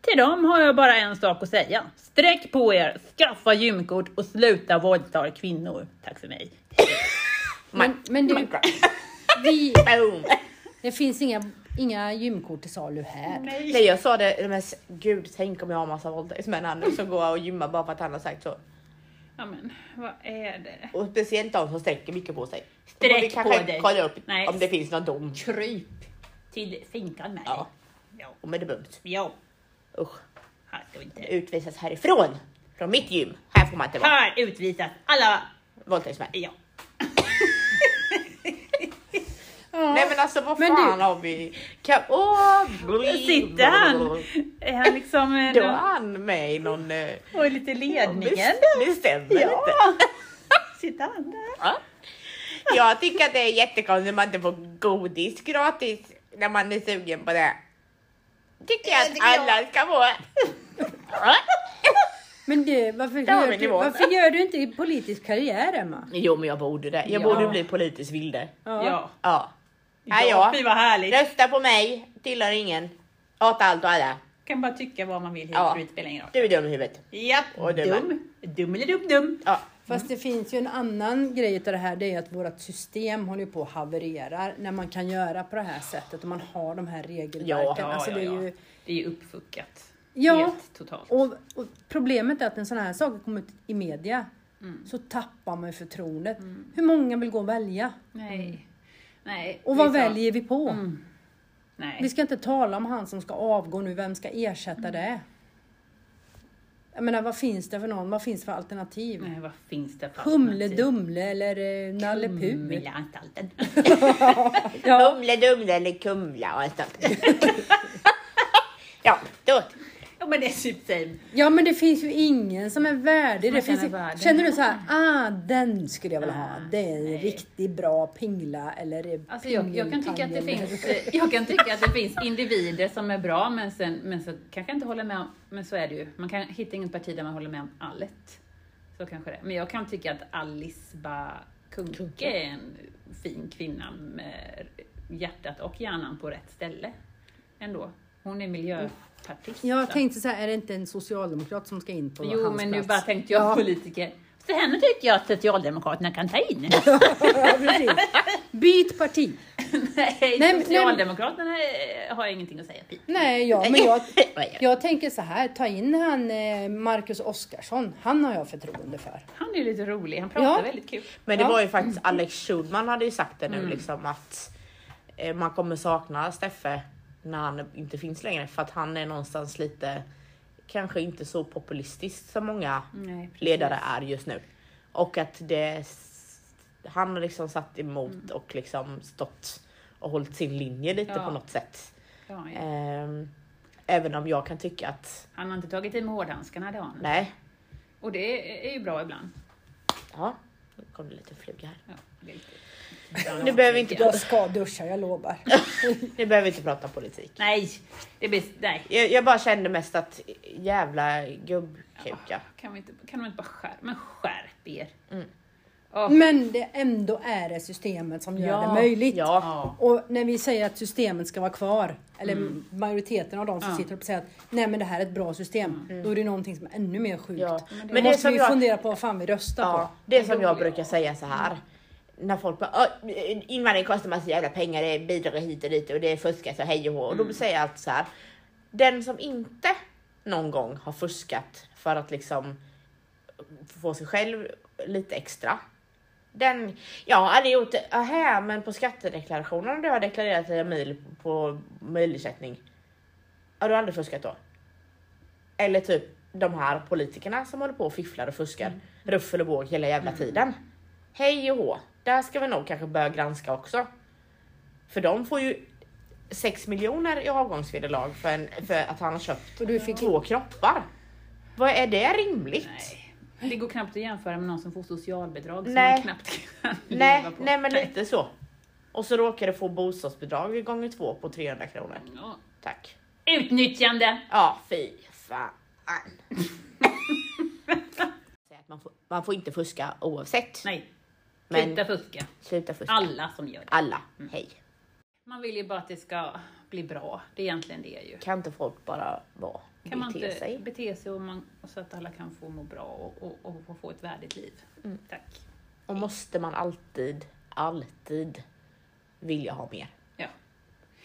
[SPEAKER 1] Till dem har jag bara en sak att säga. Sträck på er, skaffa gymkort och sluta våldta kvinnor. Tack för mig.
[SPEAKER 5] Men, men du, vi,
[SPEAKER 2] Boom!
[SPEAKER 5] det finns inga, inga gymkort till salu här.
[SPEAKER 2] Nej jag sa det, men s- gud tänk om jag har massa våldtäktsmän här nu som går och gymmar bara för att han har sagt så.
[SPEAKER 1] Ja men, vad är det?
[SPEAKER 2] Och speciellt de som sträcker mycket på sig.
[SPEAKER 1] Sträck
[SPEAKER 2] Och vi kanske
[SPEAKER 1] på dig.
[SPEAKER 2] kolla upp
[SPEAKER 1] Nej.
[SPEAKER 2] om det finns någon dom.
[SPEAKER 1] Kryp till finkan med
[SPEAKER 2] Ja.
[SPEAKER 1] dig. Ja.
[SPEAKER 2] Om det är dumt.
[SPEAKER 1] Ja,
[SPEAKER 2] Usch.
[SPEAKER 1] här ska vi inte.
[SPEAKER 2] Utvisas härifrån. Från mitt gym. Här får man inte vara.
[SPEAKER 1] Här utvisas alla.
[SPEAKER 2] Våldtäktsmän.
[SPEAKER 1] Ja.
[SPEAKER 2] Nej men alltså vad
[SPEAKER 5] Men du-
[SPEAKER 2] fan har vi? Kan... Åh,
[SPEAKER 1] Sitter han? Är han liksom eh,
[SPEAKER 2] Då är han med i någon... eh,
[SPEAKER 1] och lite ledningen?
[SPEAKER 2] bes- Bestämmer
[SPEAKER 1] Ja.
[SPEAKER 2] inte.
[SPEAKER 1] Sitter han där?
[SPEAKER 2] Ja. Jag tycker att det är jättekonstigt när man inte får godis gratis när man är sugen på det. Tycker jag att alla ska få. Ja.
[SPEAKER 5] Men du, varför,
[SPEAKER 2] Där har
[SPEAKER 5] gör
[SPEAKER 2] vi
[SPEAKER 5] du,
[SPEAKER 2] nivån.
[SPEAKER 5] varför gör du inte i politisk karriär Emma?
[SPEAKER 2] Jo men jag borde det. Jag
[SPEAKER 1] Ja.
[SPEAKER 2] borde bli politisk vilde.
[SPEAKER 1] Ja.
[SPEAKER 2] Ja. Ja, ja.
[SPEAKER 1] Fy vad härligt.
[SPEAKER 2] Rösta på mig, tillhör ingen. Hata allt och alla.
[SPEAKER 1] Kan bara tycka vad man vill hit
[SPEAKER 2] Ja.
[SPEAKER 1] och dit spelar ingen roll.
[SPEAKER 2] Du är dum i huvudet.
[SPEAKER 1] Japp,
[SPEAKER 2] Och du
[SPEAKER 1] dum. Dum eller dum dum.
[SPEAKER 2] Ja.
[SPEAKER 5] Fast det finns ju en annan grej utav det här, det är att vårt system håller ju på att haverera när man kan göra på det här sättet och man har de här regelverken.
[SPEAKER 1] Ja,
[SPEAKER 5] alltså,
[SPEAKER 1] ja,
[SPEAKER 5] det är
[SPEAKER 1] ja.
[SPEAKER 5] ju,
[SPEAKER 1] Det är ju uppfuckat.
[SPEAKER 5] Ja.
[SPEAKER 1] Helt totalt.
[SPEAKER 5] Och, och problemet är att när sådana här saker kommer ut i media
[SPEAKER 1] Mm.
[SPEAKER 5] så tappar man ju förtroendet. Hur många vill gå och välja?
[SPEAKER 1] Nej. Nej.
[SPEAKER 5] Och vad
[SPEAKER 1] det är Mm. så.
[SPEAKER 5] väljer vi på? Vi
[SPEAKER 1] Nej.
[SPEAKER 5] ska inte tala om han som ska avgå nu, vem ska ersätta
[SPEAKER 1] Mm.
[SPEAKER 5] det? Jag menar, vad finns det för någon? Vad finns det för alternativ?
[SPEAKER 1] Nej, vad finns det för
[SPEAKER 5] Humle
[SPEAKER 1] alternativ?
[SPEAKER 5] Dumle eller eh, Nalle Puh?
[SPEAKER 1] Humleanstalten.
[SPEAKER 5] Ja,
[SPEAKER 2] Humle Dumle eller Kumla och allt sånt. ja, då.
[SPEAKER 1] ja men det är typ same.
[SPEAKER 5] ja, men det finns ju ingen som är värdig.
[SPEAKER 1] Man
[SPEAKER 5] Det finns,
[SPEAKER 1] känner
[SPEAKER 5] ju-
[SPEAKER 1] världen.
[SPEAKER 5] känner du så här, ah, den skulle jag vilja ha.
[SPEAKER 1] Ah,
[SPEAKER 5] Det är en
[SPEAKER 1] nej.
[SPEAKER 5] riktigt bra pingla eller
[SPEAKER 1] Alltså jag, jag, kan tycka att det
[SPEAKER 5] pingeltand eller-
[SPEAKER 1] finns, eh, jag kan tycka att det finns individer som är bra, men, sen, men så kanske jag inte håller med om, men så är det ju. Man kan hitta inget parti där man håller med om allt. Så kanske det. Men jag kan tycka att Alice Bah Kuhnke är en fin kvinna med hjärtat och hjärnan på rätt ställe ändå. Hon är miljöpartist.
[SPEAKER 5] Jag
[SPEAKER 1] så.
[SPEAKER 5] tänkte så här, är det inte en socialdemokrat som ska in på
[SPEAKER 1] Jo,
[SPEAKER 5] hans
[SPEAKER 1] men nu
[SPEAKER 5] plats?
[SPEAKER 1] bara tänkte jag
[SPEAKER 5] Ja.
[SPEAKER 1] politiker. Så henne tycker jag att Socialdemokraterna kan ta in.
[SPEAKER 5] Ja, precis. Byt parti.
[SPEAKER 1] nej,
[SPEAKER 5] men-
[SPEAKER 1] Socialdemokraterna eh, har ingenting att säga.
[SPEAKER 5] Nej, ja, men jag, jag tänker så här, ta in han eh, Marcus Oskarsson, han har jag förtroende för.
[SPEAKER 1] Han är ju lite rolig, han pratar
[SPEAKER 5] Ja.
[SPEAKER 1] väldigt kul.
[SPEAKER 2] Men det
[SPEAKER 5] Ja.
[SPEAKER 2] var ju faktiskt Alex Schulman hade ju sagt det nu
[SPEAKER 1] Mm.
[SPEAKER 2] liksom att eh, man kommer sakna Steffe när han inte finns längre för att han är någonstans lite kanske inte så populistisk som många
[SPEAKER 1] Mm, Nej, precis.
[SPEAKER 2] ledare är just nu. Och att det s- han har liksom satt emot och liksom stått och hållit sin linje lite
[SPEAKER 1] Mm. Ja.
[SPEAKER 2] på något sätt.
[SPEAKER 1] Ja, ja.
[SPEAKER 2] Ehm, även om jag kan tycka att
[SPEAKER 1] Han har inte tagit i med hårdhandskarna, det har han.
[SPEAKER 2] nej,
[SPEAKER 1] Och det är ju bra ibland.
[SPEAKER 2] ja, nu kom det lite fluga här.
[SPEAKER 1] Ja, det är lite-
[SPEAKER 2] Nu behöver vi inte
[SPEAKER 5] Jag ska duscha, jag lovar.
[SPEAKER 2] Nu behöver vi inte prata politik.
[SPEAKER 1] Nej, det blir... Nej.
[SPEAKER 2] Jag, jag bara kände mest att jävla gubbkuka.
[SPEAKER 1] Kan, vi inte, kan de inte bara skärpa Men skärp er!
[SPEAKER 2] Mm.
[SPEAKER 1] Åh,
[SPEAKER 5] Men det ändå är det systemet som gör
[SPEAKER 1] Ja.
[SPEAKER 5] det möjligt.
[SPEAKER 2] Ja,
[SPEAKER 1] ja.
[SPEAKER 5] Och när vi säger att systemet ska vara kvar, eller majoriteten av de som
[SPEAKER 1] Mm. Ja. Mm.
[SPEAKER 5] sitter och säger att nej men det här är ett bra system, då är det någonting som är ännu mer sjukt.
[SPEAKER 2] ja.
[SPEAKER 1] Men det
[SPEAKER 5] Då
[SPEAKER 2] Men det
[SPEAKER 5] måste
[SPEAKER 2] som
[SPEAKER 5] vi
[SPEAKER 2] jag,
[SPEAKER 5] fundera på vad fan vi röstar
[SPEAKER 2] ja, det som jag brukar säga så här. När folk bara "Åh, invandring kostar massa jävla pengar, det är bidrag hit och dit och det är fuskat och hej och hå. Och då säger jag alltid så här. Den som inte någon gång har fuskat för att liksom få sig själv lite extra. Den, jag har aldrig gjort det, aha, men på skattedeklarationen du har deklarerat dina mil på milersättning. Har du aldrig fuskat då? Eller typ de här politikerna som håller på och fifflar och fuskar ruffel och båg hela jävla tiden. Hej och hå, där ska vi nog kanske börja granska också. För de får ju 6 miljoner i avgångsvederlag för, en, för att han har köpt
[SPEAKER 5] på. Och du fick
[SPEAKER 2] två kroppar. Vad är det rimligt?
[SPEAKER 1] Nej. Det går knappt att jämföra med någon som får socialbidrag som
[SPEAKER 2] Nej.
[SPEAKER 1] man knappt kan
[SPEAKER 2] Nej,
[SPEAKER 1] leva på.
[SPEAKER 2] nej men lite så. Och så råkar du få bostadsbidrag gånger två på 300 kronor.
[SPEAKER 1] Ja.
[SPEAKER 2] Tack.
[SPEAKER 1] Utnyttjande!
[SPEAKER 2] Ja, fy fan. Säg att man, får, man får inte fuska oavsett.
[SPEAKER 1] Nej,
[SPEAKER 2] men
[SPEAKER 1] sluta fuska.
[SPEAKER 2] sluta fuska.
[SPEAKER 1] Alla som gör det.
[SPEAKER 2] Alla.
[SPEAKER 5] Mm.
[SPEAKER 2] Hej.
[SPEAKER 1] Man vill ju bara att det ska bli bra. Det är egentligen det ju.
[SPEAKER 2] Kan inte folk bara vara
[SPEAKER 1] Kan man
[SPEAKER 2] bete
[SPEAKER 1] inte
[SPEAKER 2] sig?
[SPEAKER 1] bete sig och man, och så att alla kan få må bra och, och, och få- få ett värdigt liv?
[SPEAKER 2] Mm.
[SPEAKER 1] Tack.
[SPEAKER 2] Och måste man alltid, alltid vilja ha mer?
[SPEAKER 1] Ja.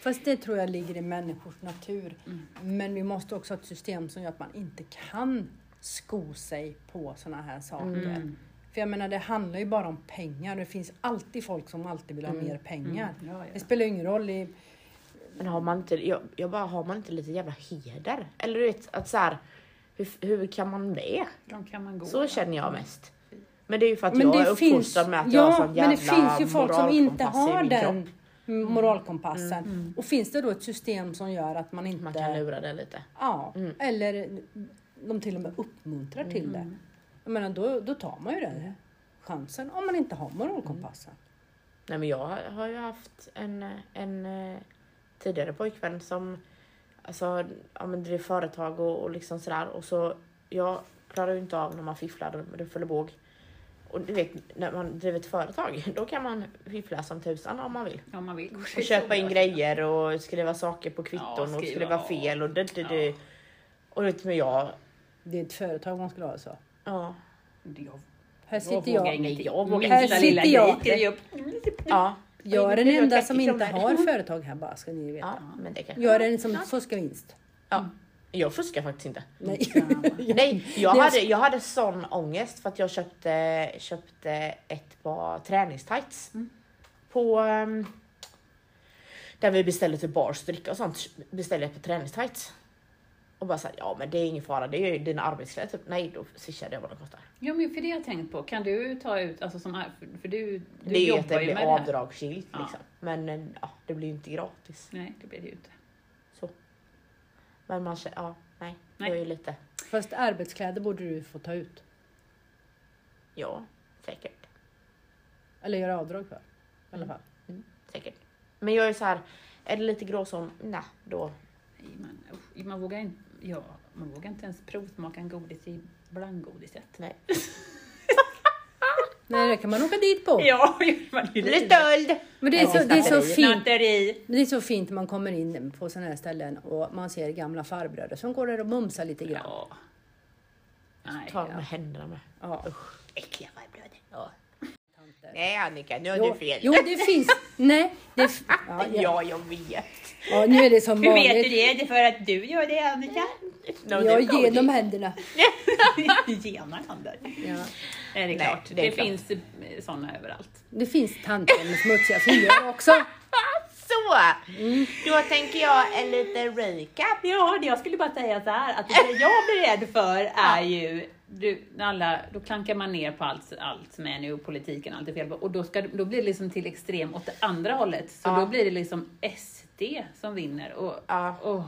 [SPEAKER 5] Fast det tror jag ligger i människors natur. Men vi måste också ha ett system som gör att man inte kan sko sig på sådana här saker.
[SPEAKER 1] Mm.
[SPEAKER 5] För jag menar, det handlar ju bara om pengar. Det finns alltid folk som alltid vill ha mer pengar.
[SPEAKER 1] Mm. Ja, ja.
[SPEAKER 5] Det spelar ju ingen roll i...
[SPEAKER 2] Men har man inte, jag, jag bara, har man inte lite jävla heder? Eller du vet, att så här, hur, hur kan man det?
[SPEAKER 1] De kan man gå.
[SPEAKER 2] Så känner jag mest. Men det är ju för att
[SPEAKER 5] Mm. Men
[SPEAKER 2] jag
[SPEAKER 5] det
[SPEAKER 2] är uppfostrad
[SPEAKER 5] finns,
[SPEAKER 2] med att jag har
[SPEAKER 5] ja,
[SPEAKER 2] sån jävla
[SPEAKER 5] men det finns ju folk som inte
[SPEAKER 2] moralkompass i
[SPEAKER 5] har
[SPEAKER 2] min
[SPEAKER 5] den
[SPEAKER 2] kropp.
[SPEAKER 5] moralkompassen. Och finns det då ett system som gör att man inte...
[SPEAKER 2] Man kan lura den lite.
[SPEAKER 5] Ja, eller de till och med uppmuntrar
[SPEAKER 1] Mm.
[SPEAKER 5] till det. Jag menar, då, då tar man ju den chansen om man inte har moralkompassen.
[SPEAKER 2] Nej men jag har ju haft en, en eh, tidigare pojkvän som alltså, ja, men drev företag och, och liksom sådär. Och så, jag klarar ju inte av när man fifflar med ruffel och båg. Och du vet, när man driver ett företag, då kan man fiffla som tusan om man vill.
[SPEAKER 1] Om man vill gå
[SPEAKER 2] Och köpa in grejer och skriva saker på kvitton
[SPEAKER 1] Ja,
[SPEAKER 2] och
[SPEAKER 1] skriva,
[SPEAKER 2] skriva fel och du, du, du.
[SPEAKER 1] ja.
[SPEAKER 2] Och du vet, men jag...
[SPEAKER 5] Mm. Det är ett företag man skulle ha så.
[SPEAKER 2] Ja.
[SPEAKER 1] Jag
[SPEAKER 5] Här
[SPEAKER 1] Jag
[SPEAKER 5] sitter
[SPEAKER 1] vågar
[SPEAKER 5] jag.
[SPEAKER 1] ingenting.
[SPEAKER 2] Jag vågar
[SPEAKER 1] Minsta
[SPEAKER 5] ingenting.
[SPEAKER 1] lilla
[SPEAKER 5] Här sitter jag.
[SPEAKER 1] grej. Upp.
[SPEAKER 2] ja.
[SPEAKER 5] Jag är den
[SPEAKER 2] Jag
[SPEAKER 5] enda
[SPEAKER 2] tänker
[SPEAKER 5] som inte
[SPEAKER 2] kronor.
[SPEAKER 5] har företag här bara, ska ni veta.
[SPEAKER 2] Ja, men det kan...
[SPEAKER 5] Jag är den som fuskar vinst.
[SPEAKER 2] ja. Jag fuskar faktiskt inte.
[SPEAKER 5] Nej.
[SPEAKER 2] Nej, jag
[SPEAKER 5] Nej, jag-
[SPEAKER 2] hade, jag hade sån ångest för att jag köpte, köpte ett par träningstights
[SPEAKER 1] Mm.
[SPEAKER 2] på ehm, där vi beställde till bars, dricka och sånt. Beställde jag ett par träningstights och bara såhär, ja men det är ingen fara, det är ju dina arbetskläder typ. Nej, då swishade jag vad de kostar.
[SPEAKER 1] Ja, men för det har jag tänkt på. Kan du ta ut, alltså som, är- för- för du, du
[SPEAKER 2] Det är ju att det
[SPEAKER 1] jobbar ju med det
[SPEAKER 2] blir
[SPEAKER 1] här.
[SPEAKER 2] avdragsgillt
[SPEAKER 1] Ja.
[SPEAKER 2] liksom. Men eh, ja, det blir ju inte gratis.
[SPEAKER 1] Nej, det blir det ju inte.
[SPEAKER 2] Men man känner, ja, nej, det
[SPEAKER 1] Nej.
[SPEAKER 2] var ju lite,
[SPEAKER 5] Fast arbetskläder borde du få ta ut.
[SPEAKER 2] ja, säkert.
[SPEAKER 5] Eller göra avdrag för. I alla fall.
[SPEAKER 2] Säkert. Men jag är så här, är det lite gråzon, nej, då
[SPEAKER 1] Nej, Man, usch, man, vågar inte, ja, man vågar inte ens provsmaka en godis i blandgodiset.
[SPEAKER 2] Nej.
[SPEAKER 5] Nej, det kan man åka dit på.
[SPEAKER 1] Ja, man är ju
[SPEAKER 2] Lite öld!
[SPEAKER 5] Men det är, så, det, är så fint,
[SPEAKER 1] Snatteri.
[SPEAKER 5] det är så fint när man kommer in på sådana här ställen och man ser gamla farbröder som går där och mumsar lite grann.
[SPEAKER 1] Ja. Nej,
[SPEAKER 2] Ta
[SPEAKER 1] ja.
[SPEAKER 2] med händerna med.
[SPEAKER 5] Ja.
[SPEAKER 2] Äckliga farbröder. Ja. Nej Annika, nu har du
[SPEAKER 5] Jo,
[SPEAKER 2] fel.
[SPEAKER 5] jo, det finns... Nej, det... f- Ja, ja.
[SPEAKER 2] Ja, jag vet.
[SPEAKER 5] ja, nu är det som
[SPEAKER 1] Hur vet du
[SPEAKER 5] vanligt.
[SPEAKER 1] det? Det är för att du gör det, Annika.
[SPEAKER 2] No,
[SPEAKER 5] Jag
[SPEAKER 2] det-
[SPEAKER 5] ger dem händerna.
[SPEAKER 1] Du genar händer.
[SPEAKER 5] Ja.
[SPEAKER 1] Nej, det är
[SPEAKER 2] Nej,
[SPEAKER 1] klart.
[SPEAKER 2] det
[SPEAKER 1] Det,
[SPEAKER 2] är klart.
[SPEAKER 1] finns eh, såna överallt.
[SPEAKER 5] Det finns tanter med smutsiga fingrar också.
[SPEAKER 2] Så! Då tänker jag en liten recap.
[SPEAKER 1] Ja, det jag skulle bara säga så här att det jag blir rädd för är ju du, när alla, då klankar man ner på allt, allt som är nu och politiken, allt är fel på. Och då, ska, då blir det liksom till extrem åt det andra hållet. Så
[SPEAKER 2] Ja.
[SPEAKER 1] då blir det liksom SD som vinner. Och,
[SPEAKER 2] Ja.
[SPEAKER 1] åh,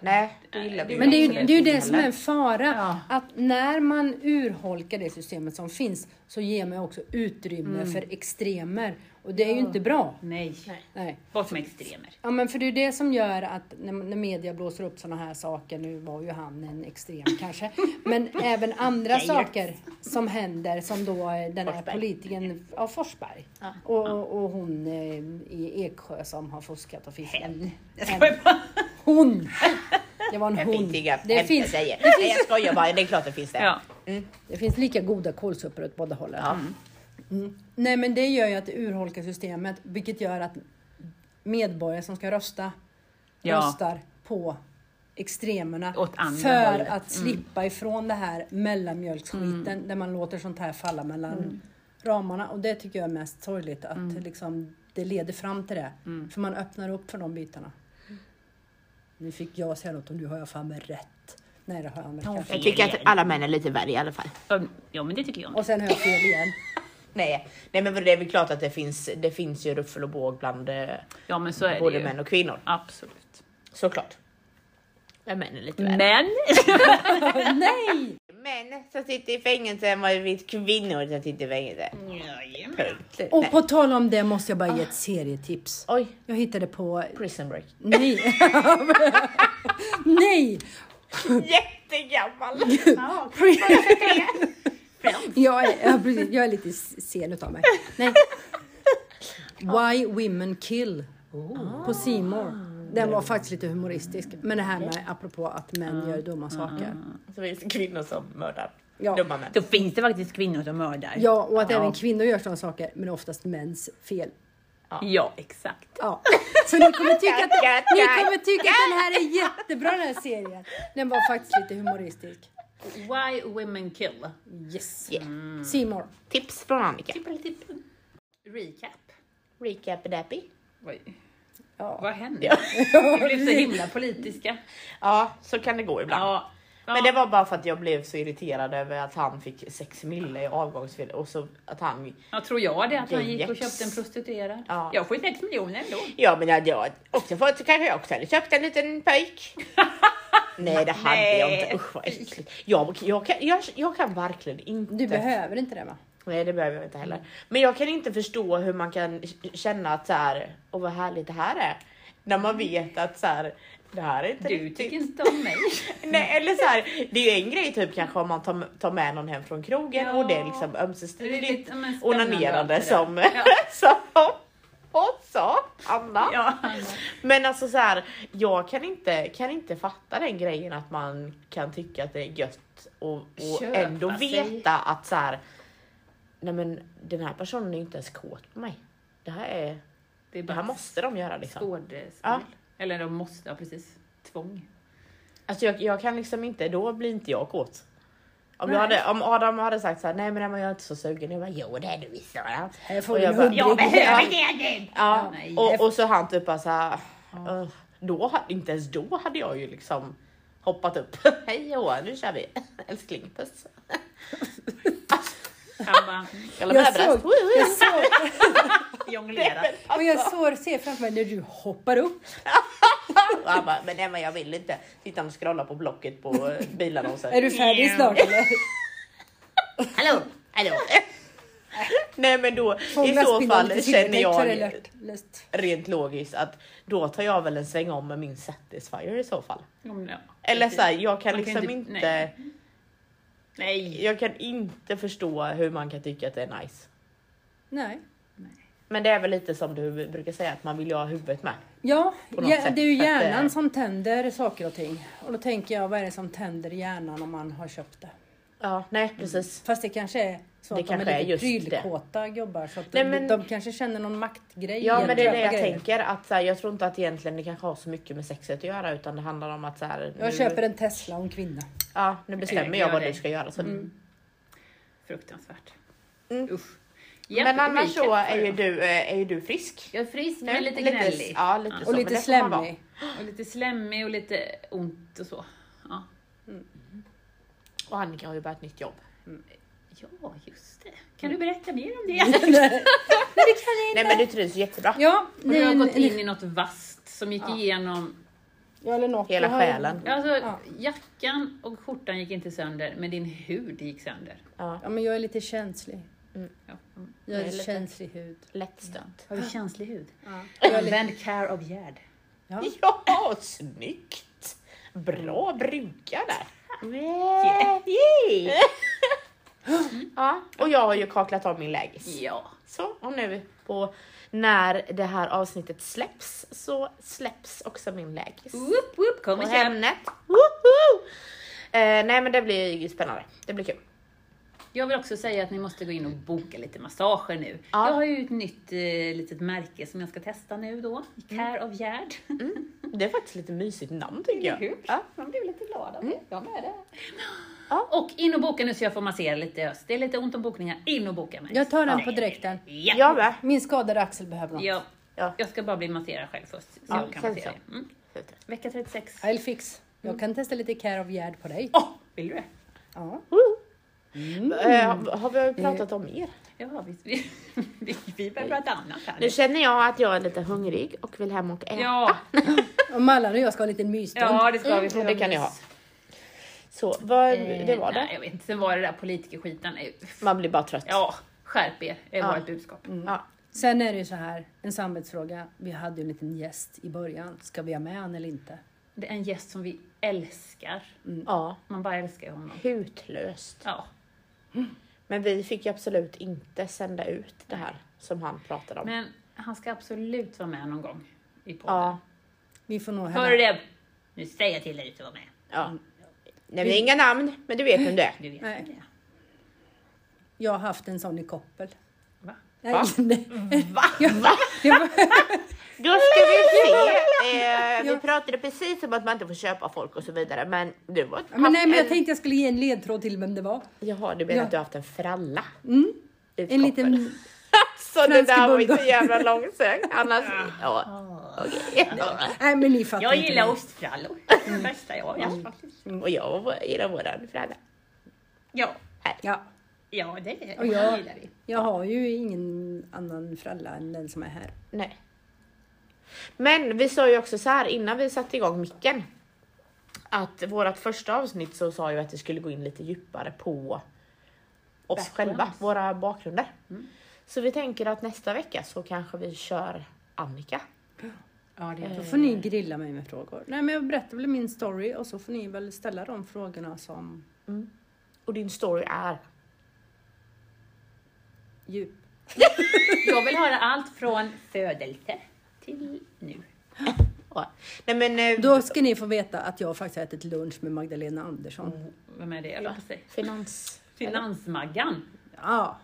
[SPEAKER 2] Nej, det gillar vi
[SPEAKER 1] Nej,
[SPEAKER 5] Men det är, ju,
[SPEAKER 1] Absolut
[SPEAKER 5] det är ju det
[SPEAKER 1] inte
[SPEAKER 5] som är en fara,
[SPEAKER 1] Ja.
[SPEAKER 5] att när man urholkar det systemet som finns så ger man också utrymme
[SPEAKER 1] Mm.
[SPEAKER 5] för extremer. Och det är ju inte bra.
[SPEAKER 1] nej.
[SPEAKER 5] Nej.
[SPEAKER 1] Vad som är extremer.
[SPEAKER 5] Ja men för det är ju det som gör att när, när media blåser upp sådana här saker, nu var ju han en extrem kanske, men även andra saker som händer som då eh, den här
[SPEAKER 2] Forsberg.
[SPEAKER 5] politikern, ja Forsberg, och, och hon eh, i Eksjö som har fuskat och fifflat.
[SPEAKER 1] Jag skojar bara.
[SPEAKER 5] Hon! Det var en
[SPEAKER 2] Det
[SPEAKER 5] hon.
[SPEAKER 2] finns inga
[SPEAKER 5] Det finns,
[SPEAKER 2] säger. Nej, jag skojar bara. Det är klart det finns det.
[SPEAKER 1] Ja.
[SPEAKER 5] Mm. det finns lika goda kålsupor åt båda hållen.
[SPEAKER 2] Ja.
[SPEAKER 5] Mm. Nej men det gör ju att det urholkar systemet vilket gör att medborgare som ska rösta
[SPEAKER 1] Ja.
[SPEAKER 5] röstar på extremerna
[SPEAKER 1] Åt andra
[SPEAKER 5] för
[SPEAKER 1] hållet. Mm.
[SPEAKER 5] att slippa ifrån det här mellanmjölksskiten där man låter sånt här falla mellan
[SPEAKER 1] Mm.
[SPEAKER 5] ramarna och det tycker jag är mest sorgligt att liksom, det leder fram till det
[SPEAKER 1] Mm.
[SPEAKER 5] för man öppnar upp för de bitarna. Nu fick jag säga något och nu har jag fan med rätt. Nej det har jag inte.
[SPEAKER 1] Ja.
[SPEAKER 2] Jag tycker att alla män är lite värre i alla fall.
[SPEAKER 1] Ja, men det tycker jag.
[SPEAKER 5] Och sen har jag fel igen.
[SPEAKER 2] Nej, nej men det är väl klart att det finns, det finns ju ruffel och båg bland eh,
[SPEAKER 1] Ja, men så är
[SPEAKER 2] både
[SPEAKER 1] det ju.
[SPEAKER 2] män och kvinnor.
[SPEAKER 1] Absolut.
[SPEAKER 2] Såklart. Men män är lite värre.
[SPEAKER 1] Men!
[SPEAKER 5] Nej!
[SPEAKER 2] Män som sitter i fängelse än vad det finns kvinnor som sitter i fängelse. Punkt.
[SPEAKER 5] Och
[SPEAKER 2] Nej.
[SPEAKER 5] på tal om det måste jag bara ge ett serietips.
[SPEAKER 2] Oj,
[SPEAKER 5] Jag hittade på...
[SPEAKER 2] prison break.
[SPEAKER 5] Nej! Nej!
[SPEAKER 2] Jättegammal!
[SPEAKER 5] Jag är, ja, precis, jag är lite sen utav mig. Nej. Why Women Kill på Seymour. Den var faktiskt lite humoristisk. Men det här med apropå att män gör dumma saker.
[SPEAKER 2] Så finns det kvinnor som mördar
[SPEAKER 5] Ja.
[SPEAKER 2] dumma män.
[SPEAKER 1] Då finns det faktiskt kvinnor som mördar.
[SPEAKER 5] Ja, och att även kvinnor gör sådana saker, men oftast mäns fel.
[SPEAKER 1] ja exakt.
[SPEAKER 5] Ja. Så ni kommer tycka att, ni kommer tycka att den här är jättebra den här serien. Den var faktiskt lite humoristisk.
[SPEAKER 1] Why women kill?
[SPEAKER 5] Yes.
[SPEAKER 2] Yeah.
[SPEAKER 5] Seymour.
[SPEAKER 2] Tips från Annika.
[SPEAKER 1] Recap.
[SPEAKER 2] Recap dappy.
[SPEAKER 1] Vad,
[SPEAKER 5] Ja.
[SPEAKER 1] vad hände? Vi blev så himla politiska.
[SPEAKER 2] Ja, så kan det gå ibland.
[SPEAKER 1] Ja.
[SPEAKER 2] Men det var bara för att jag blev så irriterad över att han fick 6 mille i avgångsved och så att han...
[SPEAKER 1] Jag tror jag det, att han gick och
[SPEAKER 2] Jax.
[SPEAKER 1] köpte en prostituerad.
[SPEAKER 2] Ja.
[SPEAKER 1] Jag får ju 6 miljoner ändå.
[SPEAKER 2] Ja men hade jag också fått så kanske jag också hade köpt en liten pöjk. Nej det hade jag
[SPEAKER 1] Nej.
[SPEAKER 2] inte, usch vad äckligt. Jag, jag, kan, jag, jag kan verkligen inte.
[SPEAKER 5] Du behöver inte det va?
[SPEAKER 2] Nej det behöver jag inte heller. Men jag kan inte förstå hur man kan k- känna att så här, åh vad härligt det här är. När man vet att så här, det här är inte
[SPEAKER 1] Du
[SPEAKER 2] riktigt.
[SPEAKER 1] tycker inte om mig.
[SPEAKER 2] Nej, eller så här, det är ju en grej typ kanske om man tar, tar med någon hem från krogen och det är liksom
[SPEAKER 1] Det är
[SPEAKER 2] ömsesidigt
[SPEAKER 1] lite, ja, men, spännande
[SPEAKER 2] onanerande
[SPEAKER 1] och allt
[SPEAKER 2] som,
[SPEAKER 1] det där. Ja.
[SPEAKER 2] som hon sa, Anna.
[SPEAKER 1] Ja.
[SPEAKER 2] Men alltså så här, jag kan inte, kan inte fatta den grejen att man kan tycka att det är gött och, och
[SPEAKER 1] Köpa
[SPEAKER 2] ändå
[SPEAKER 1] sig.
[SPEAKER 2] veta att så här, nej men den här personen är ju inte ens kåt på mig. Det här, är,
[SPEAKER 1] Det är
[SPEAKER 2] det här
[SPEAKER 1] bara
[SPEAKER 2] måste de göra liksom.
[SPEAKER 1] skådespel.
[SPEAKER 2] Ja.
[SPEAKER 1] Eller de måste, ja precis. Tvång.
[SPEAKER 2] Alltså jag, jag kan liksom inte, då blir inte jag kåt. Om, jag hade, om Adam hade sagt så här, nej men Emma jag är inte så sugen. Jag bara, jo det är du visst. Adam."
[SPEAKER 5] Här får
[SPEAKER 2] Och
[SPEAKER 5] vi
[SPEAKER 2] jag
[SPEAKER 5] en
[SPEAKER 2] bara,
[SPEAKER 5] hundring.
[SPEAKER 2] "Jag behöver
[SPEAKER 1] det!
[SPEAKER 2] Ja,
[SPEAKER 1] nej.
[SPEAKER 2] och, och så han typ bara så här, "Ugh." då, ha- inte ens då hade jag ju liksom hoppat upp. Hej och hå, nu kör vi. Älskling, puss.
[SPEAKER 1] Han bara
[SPEAKER 2] Kolla
[SPEAKER 5] Jag
[SPEAKER 2] mina bröst.
[SPEAKER 5] såg- Jag såg,
[SPEAKER 1] jonglerar.
[SPEAKER 5] och jag
[SPEAKER 2] Alltså.
[SPEAKER 5] såg, ser framför mig när du hoppar upp.
[SPEAKER 2] Och han bara, men Emma jag vill inte. Sitter han och scrollar på Blocket på eh,
[SPEAKER 5] Är
[SPEAKER 2] bilannonser.
[SPEAKER 5] du färdig snart eller?
[SPEAKER 2] Hallå, hallå. Nej men då i
[SPEAKER 5] Fångas
[SPEAKER 2] så
[SPEAKER 5] bilden
[SPEAKER 2] fall
[SPEAKER 5] lite
[SPEAKER 2] känner
[SPEAKER 5] silvertejp så är det
[SPEAKER 2] jag
[SPEAKER 5] lätt- lätt.
[SPEAKER 2] rent logiskt att då tar jag väl en sväng om med min Satisfyer i så fall.
[SPEAKER 1] Ja, men, ja.
[SPEAKER 2] Eller så här, jag kan
[SPEAKER 1] Man kan
[SPEAKER 2] liksom
[SPEAKER 1] inte-
[SPEAKER 2] inte,
[SPEAKER 1] nej. Nej.
[SPEAKER 2] jag kan inte förstå hur man kan tycka att det är nice.
[SPEAKER 5] Nej.
[SPEAKER 2] Men det är väl lite som du brukar säga att man vill ju ha huvudet med.
[SPEAKER 5] Ja,
[SPEAKER 2] På något
[SPEAKER 5] ja
[SPEAKER 2] sätt,
[SPEAKER 5] det är ju
[SPEAKER 2] för att det-
[SPEAKER 5] hjärnan som tänder saker och ting. Och då tänker jag, vad är det som tänder hjärnan om man har köpt det?
[SPEAKER 2] Ja, nej precis.
[SPEAKER 5] Fast det kanske är så
[SPEAKER 2] Det
[SPEAKER 5] att de
[SPEAKER 2] kanske
[SPEAKER 5] är
[SPEAKER 2] är
[SPEAKER 5] lite
[SPEAKER 2] just det.
[SPEAKER 5] prylkåta gubbar så att
[SPEAKER 2] Nej,
[SPEAKER 5] de,
[SPEAKER 2] men-
[SPEAKER 5] de kanske känner någon maktgrej. i
[SPEAKER 2] Ja
[SPEAKER 5] att
[SPEAKER 2] men det är
[SPEAKER 5] köpa
[SPEAKER 2] det jag
[SPEAKER 5] grejer.
[SPEAKER 2] tänker att så här, jag tror inte att egentligen det kanske har så mycket med sexet att göra utan det handlar om att så här,
[SPEAKER 5] Jag köper en Tesla och en kvinna.
[SPEAKER 2] Ja, nu bestämmer
[SPEAKER 1] Äger
[SPEAKER 2] jag
[SPEAKER 1] jag
[SPEAKER 2] vad
[SPEAKER 1] dig.
[SPEAKER 2] du ska göra. Så.
[SPEAKER 5] Mm.
[SPEAKER 1] Fruktansvärt.
[SPEAKER 2] Mm.
[SPEAKER 1] Usch. Japp,
[SPEAKER 2] Men annars
[SPEAKER 1] rubriken
[SPEAKER 2] så
[SPEAKER 1] för
[SPEAKER 2] är ju
[SPEAKER 1] idag.
[SPEAKER 2] du, eh, är ju du frisk.
[SPEAKER 1] Jag är frisk
[SPEAKER 2] Nu.
[SPEAKER 1] men lite gnällig.
[SPEAKER 2] Ja, lite
[SPEAKER 1] Och
[SPEAKER 2] så,
[SPEAKER 5] Och
[SPEAKER 2] men
[SPEAKER 5] lite
[SPEAKER 2] det får man vara.
[SPEAKER 5] slemmig.
[SPEAKER 1] Och lite slemmig och lite ont och så. Ja,
[SPEAKER 2] Och Annika har ju börjat nytt jobb.
[SPEAKER 1] ja just det. Kan du berätta mer om det?
[SPEAKER 2] Nej men du trivs ju jättebra.
[SPEAKER 5] Ja,
[SPEAKER 1] Du har
[SPEAKER 5] ni-
[SPEAKER 1] gått
[SPEAKER 5] ni-
[SPEAKER 1] in i något vasst som gick
[SPEAKER 5] Ja.
[SPEAKER 1] igenom...
[SPEAKER 5] Ja, eller något.
[SPEAKER 2] Hela
[SPEAKER 5] Jag har-
[SPEAKER 2] själen.
[SPEAKER 1] Alltså,
[SPEAKER 5] Ja.
[SPEAKER 1] jackan och skjortan gick inte sönder, men din hud gick sönder.
[SPEAKER 2] Ja,
[SPEAKER 5] Ja, men jag är lite känslig.
[SPEAKER 1] Ja.
[SPEAKER 5] Jag
[SPEAKER 2] Det
[SPEAKER 5] är
[SPEAKER 2] är lite-
[SPEAKER 5] känslig hud.
[SPEAKER 2] lättstött.
[SPEAKER 1] Har du känslig hud?
[SPEAKER 5] Jag är lite-
[SPEAKER 1] Använd Care of Gerd.
[SPEAKER 5] Ja.
[SPEAKER 2] Ja, snyggt! Bra brukar där. Yay. Ja, och jag har ju kaklat av min lägis.
[SPEAKER 1] Ja.
[SPEAKER 2] Så, och nu på när det här avsnittet släpps så släpps också min lägis.
[SPEAKER 1] Whoop, whoop, kom
[SPEAKER 2] på
[SPEAKER 1] och köp.
[SPEAKER 2] Hemnet. Woho! Eh, nej men det blir ju spännande. Det blir kul.
[SPEAKER 1] Jag vill också säga att ni måste gå in och boka lite massager nu.
[SPEAKER 2] Ja.
[SPEAKER 1] Jag har ju ett nytt eh, litet märke som jag ska testa nu då. Care of Gerd.
[SPEAKER 2] Det är faktiskt lite mysigt namn tycker
[SPEAKER 1] Mm. Eller
[SPEAKER 2] jag.
[SPEAKER 1] hur?
[SPEAKER 2] Ja.
[SPEAKER 1] Man blir lite glad av det. Jag med det.
[SPEAKER 2] Ja.
[SPEAKER 1] Och in och boka nu så jag får massera lite i höst. Det är lite ont om bokningar. In och boka mig.
[SPEAKER 5] Jag tar den på direkten.
[SPEAKER 1] Ja.
[SPEAKER 2] Jag med.
[SPEAKER 5] Min skadade axel behöver något.
[SPEAKER 1] Ja.
[SPEAKER 2] Ja.
[SPEAKER 1] Jag ska bara bli masserad själv först. Så
[SPEAKER 2] Ja,
[SPEAKER 1] jag kan
[SPEAKER 2] sen
[SPEAKER 1] massera.
[SPEAKER 2] så.
[SPEAKER 1] dig. Mm. Vecka 36.
[SPEAKER 5] I'll fix. Jag
[SPEAKER 2] Mm.
[SPEAKER 5] kan testa lite Care of Gerd på dig.
[SPEAKER 2] Åh!
[SPEAKER 1] Vill du det?
[SPEAKER 5] Ja.
[SPEAKER 1] Mm.
[SPEAKER 2] Eh, har vi pratat om er?
[SPEAKER 1] Ja, vi, vi, vi, vi börjar prata annat här nu.
[SPEAKER 2] Nu känner jag att jag är lite hungrig och vill hem och äta.
[SPEAKER 1] Ja,
[SPEAKER 5] Och Mallan och jag ska ha en liten mysstund.
[SPEAKER 1] ja, det ska vi.
[SPEAKER 2] Mm, det kan ni ha. Så vad,
[SPEAKER 1] Eh,
[SPEAKER 2] det var
[SPEAKER 1] Nej,
[SPEAKER 2] det.
[SPEAKER 1] jag vet inte. Sen var det där politikerskiten. Eh,
[SPEAKER 2] Man blir bara trött.
[SPEAKER 1] Ja, skärp er, är
[SPEAKER 2] Ja.
[SPEAKER 1] vårt budskap.
[SPEAKER 2] Ja.
[SPEAKER 5] Sen är det ju så här, en samvetsfråga. Vi hade ju en liten gäst i början. Ska vi ha med han eller inte?
[SPEAKER 1] Det är en gäst som vi älskar.
[SPEAKER 2] ja.
[SPEAKER 1] Man bara älskar ju honom.
[SPEAKER 2] Hutlöst.
[SPEAKER 1] Ja.
[SPEAKER 2] Men vi fick ju absolut inte sända ut det här som han pratade om.
[SPEAKER 1] Men han ska absolut vara med någon gång i podden.
[SPEAKER 2] Ja.
[SPEAKER 5] Vi får nog
[SPEAKER 1] Hör du det? Nu säger jag till dig att du var med.
[SPEAKER 2] ja. Nej, men inga namn, men du vet vem det är.
[SPEAKER 1] Du vet
[SPEAKER 5] Nej.
[SPEAKER 1] ju det.
[SPEAKER 5] Jag har haft en sån i koppel.
[SPEAKER 1] Va?
[SPEAKER 5] Nej, nej.
[SPEAKER 1] Mm.
[SPEAKER 2] Då ska vi se. Eh, vi pratade precis om att man inte får köpa folk och så vidare. Men du har
[SPEAKER 5] Ja, Men nej, men jag
[SPEAKER 2] en-
[SPEAKER 5] tänkte jag skulle ge en ledtråd till vem det var.
[SPEAKER 2] Jaha, du menar
[SPEAKER 5] Ja.
[SPEAKER 2] att du har haft en fralla?
[SPEAKER 5] En liten...
[SPEAKER 2] Så det där var ju så
[SPEAKER 5] fransk
[SPEAKER 2] jävla långsökt. Annars... Ja. Okej.
[SPEAKER 5] Nej, men ni fattar
[SPEAKER 1] Jag
[SPEAKER 5] inte
[SPEAKER 1] gillar
[SPEAKER 5] det.
[SPEAKER 1] ostfrallor. Det bästa jag gör faktiskt.
[SPEAKER 2] Mm, Och jag gillar våran fralla.
[SPEAKER 1] Ja,
[SPEAKER 5] Ja,
[SPEAKER 1] ja det är-
[SPEAKER 5] Och jag-
[SPEAKER 1] gillar vi.
[SPEAKER 5] jag har ju ingen annan fralla än den som är här.
[SPEAKER 2] Nej. Men vi sa ju också så här innan vi satte igång micken. Att vårt första avsnitt så sa ju att vi skulle gå in lite djupare på
[SPEAKER 1] Backgrounds.
[SPEAKER 2] oss själva, våra bakgrunder. Så vi tänker att nästa vecka så kanske vi kör Annika.
[SPEAKER 1] Ja, det
[SPEAKER 5] Då får ni grilla mig med frågor. Nej, men jag berättar väl min story och så får ni väl ställa de frågorna som
[SPEAKER 2] Och din story är...
[SPEAKER 5] djup.
[SPEAKER 1] Jag vill höra allt från födelse till nu.
[SPEAKER 2] Ja. Nej men... eh,
[SPEAKER 5] Då ska ni få veta att jag faktiskt har ätit lunch med Magdalena Andersson.
[SPEAKER 1] Mm. Vem är det jag lade sig?
[SPEAKER 2] Finans...
[SPEAKER 1] Finansmaggan.
[SPEAKER 5] Ja,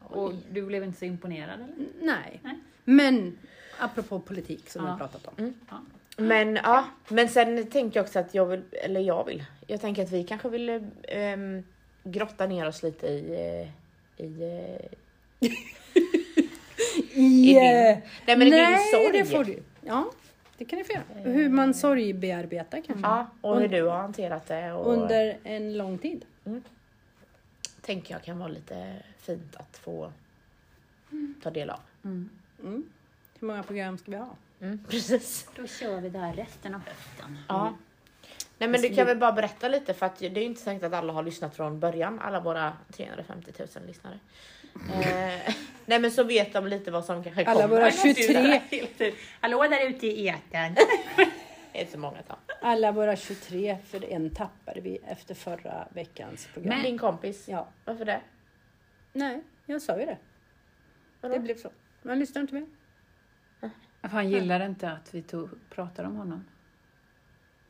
[SPEAKER 1] Och du blev inte så imponerad eller?
[SPEAKER 5] nej.
[SPEAKER 1] Nej.
[SPEAKER 5] Men apropå politik som vi
[SPEAKER 1] Ja.
[SPEAKER 5] har pratat om.
[SPEAKER 1] Ja.
[SPEAKER 2] Men ja, men sen tänker jag också att jag vill, eller jag vill, jag tänker att vi kanske vill ehm, grotta ner oss lite i, eh, i, eh, i din, nej men i din sorg.
[SPEAKER 5] det får du. Ja, det kan ni få göra. Hur man sorgbearbetar kanske.
[SPEAKER 2] Ja, och hur du har hanterat det och
[SPEAKER 5] Under en lång tid.
[SPEAKER 2] tänker jag kan vara lite fint att få ta del av.
[SPEAKER 5] Mm. Hur många program ska vi ha?
[SPEAKER 2] Mm, precis.
[SPEAKER 1] Då kör vi där resten av hösten.
[SPEAKER 5] Mm.
[SPEAKER 2] Ja. Nej men du kan väl bara berätta lite för att det är ju inte säkert att alla har lyssnat från början, alla våra 350 000 lyssnare. Eh, nej men så vet de lite vad som kanske
[SPEAKER 5] Alla
[SPEAKER 2] kommer.
[SPEAKER 5] våra 23,
[SPEAKER 1] Hallå där ute i etern.
[SPEAKER 2] Det är inte så många tal.
[SPEAKER 5] alla våra 23 för en tappade vi efter förra veckans program.
[SPEAKER 2] Din kompis.
[SPEAKER 5] Ja.
[SPEAKER 2] Varför det?
[SPEAKER 5] Nej, jag sa ju det.
[SPEAKER 2] Vadå?
[SPEAKER 5] Det blev så. Man lyssnar inte mer.
[SPEAKER 1] Han gillar inte att vi tog, pratar om honom.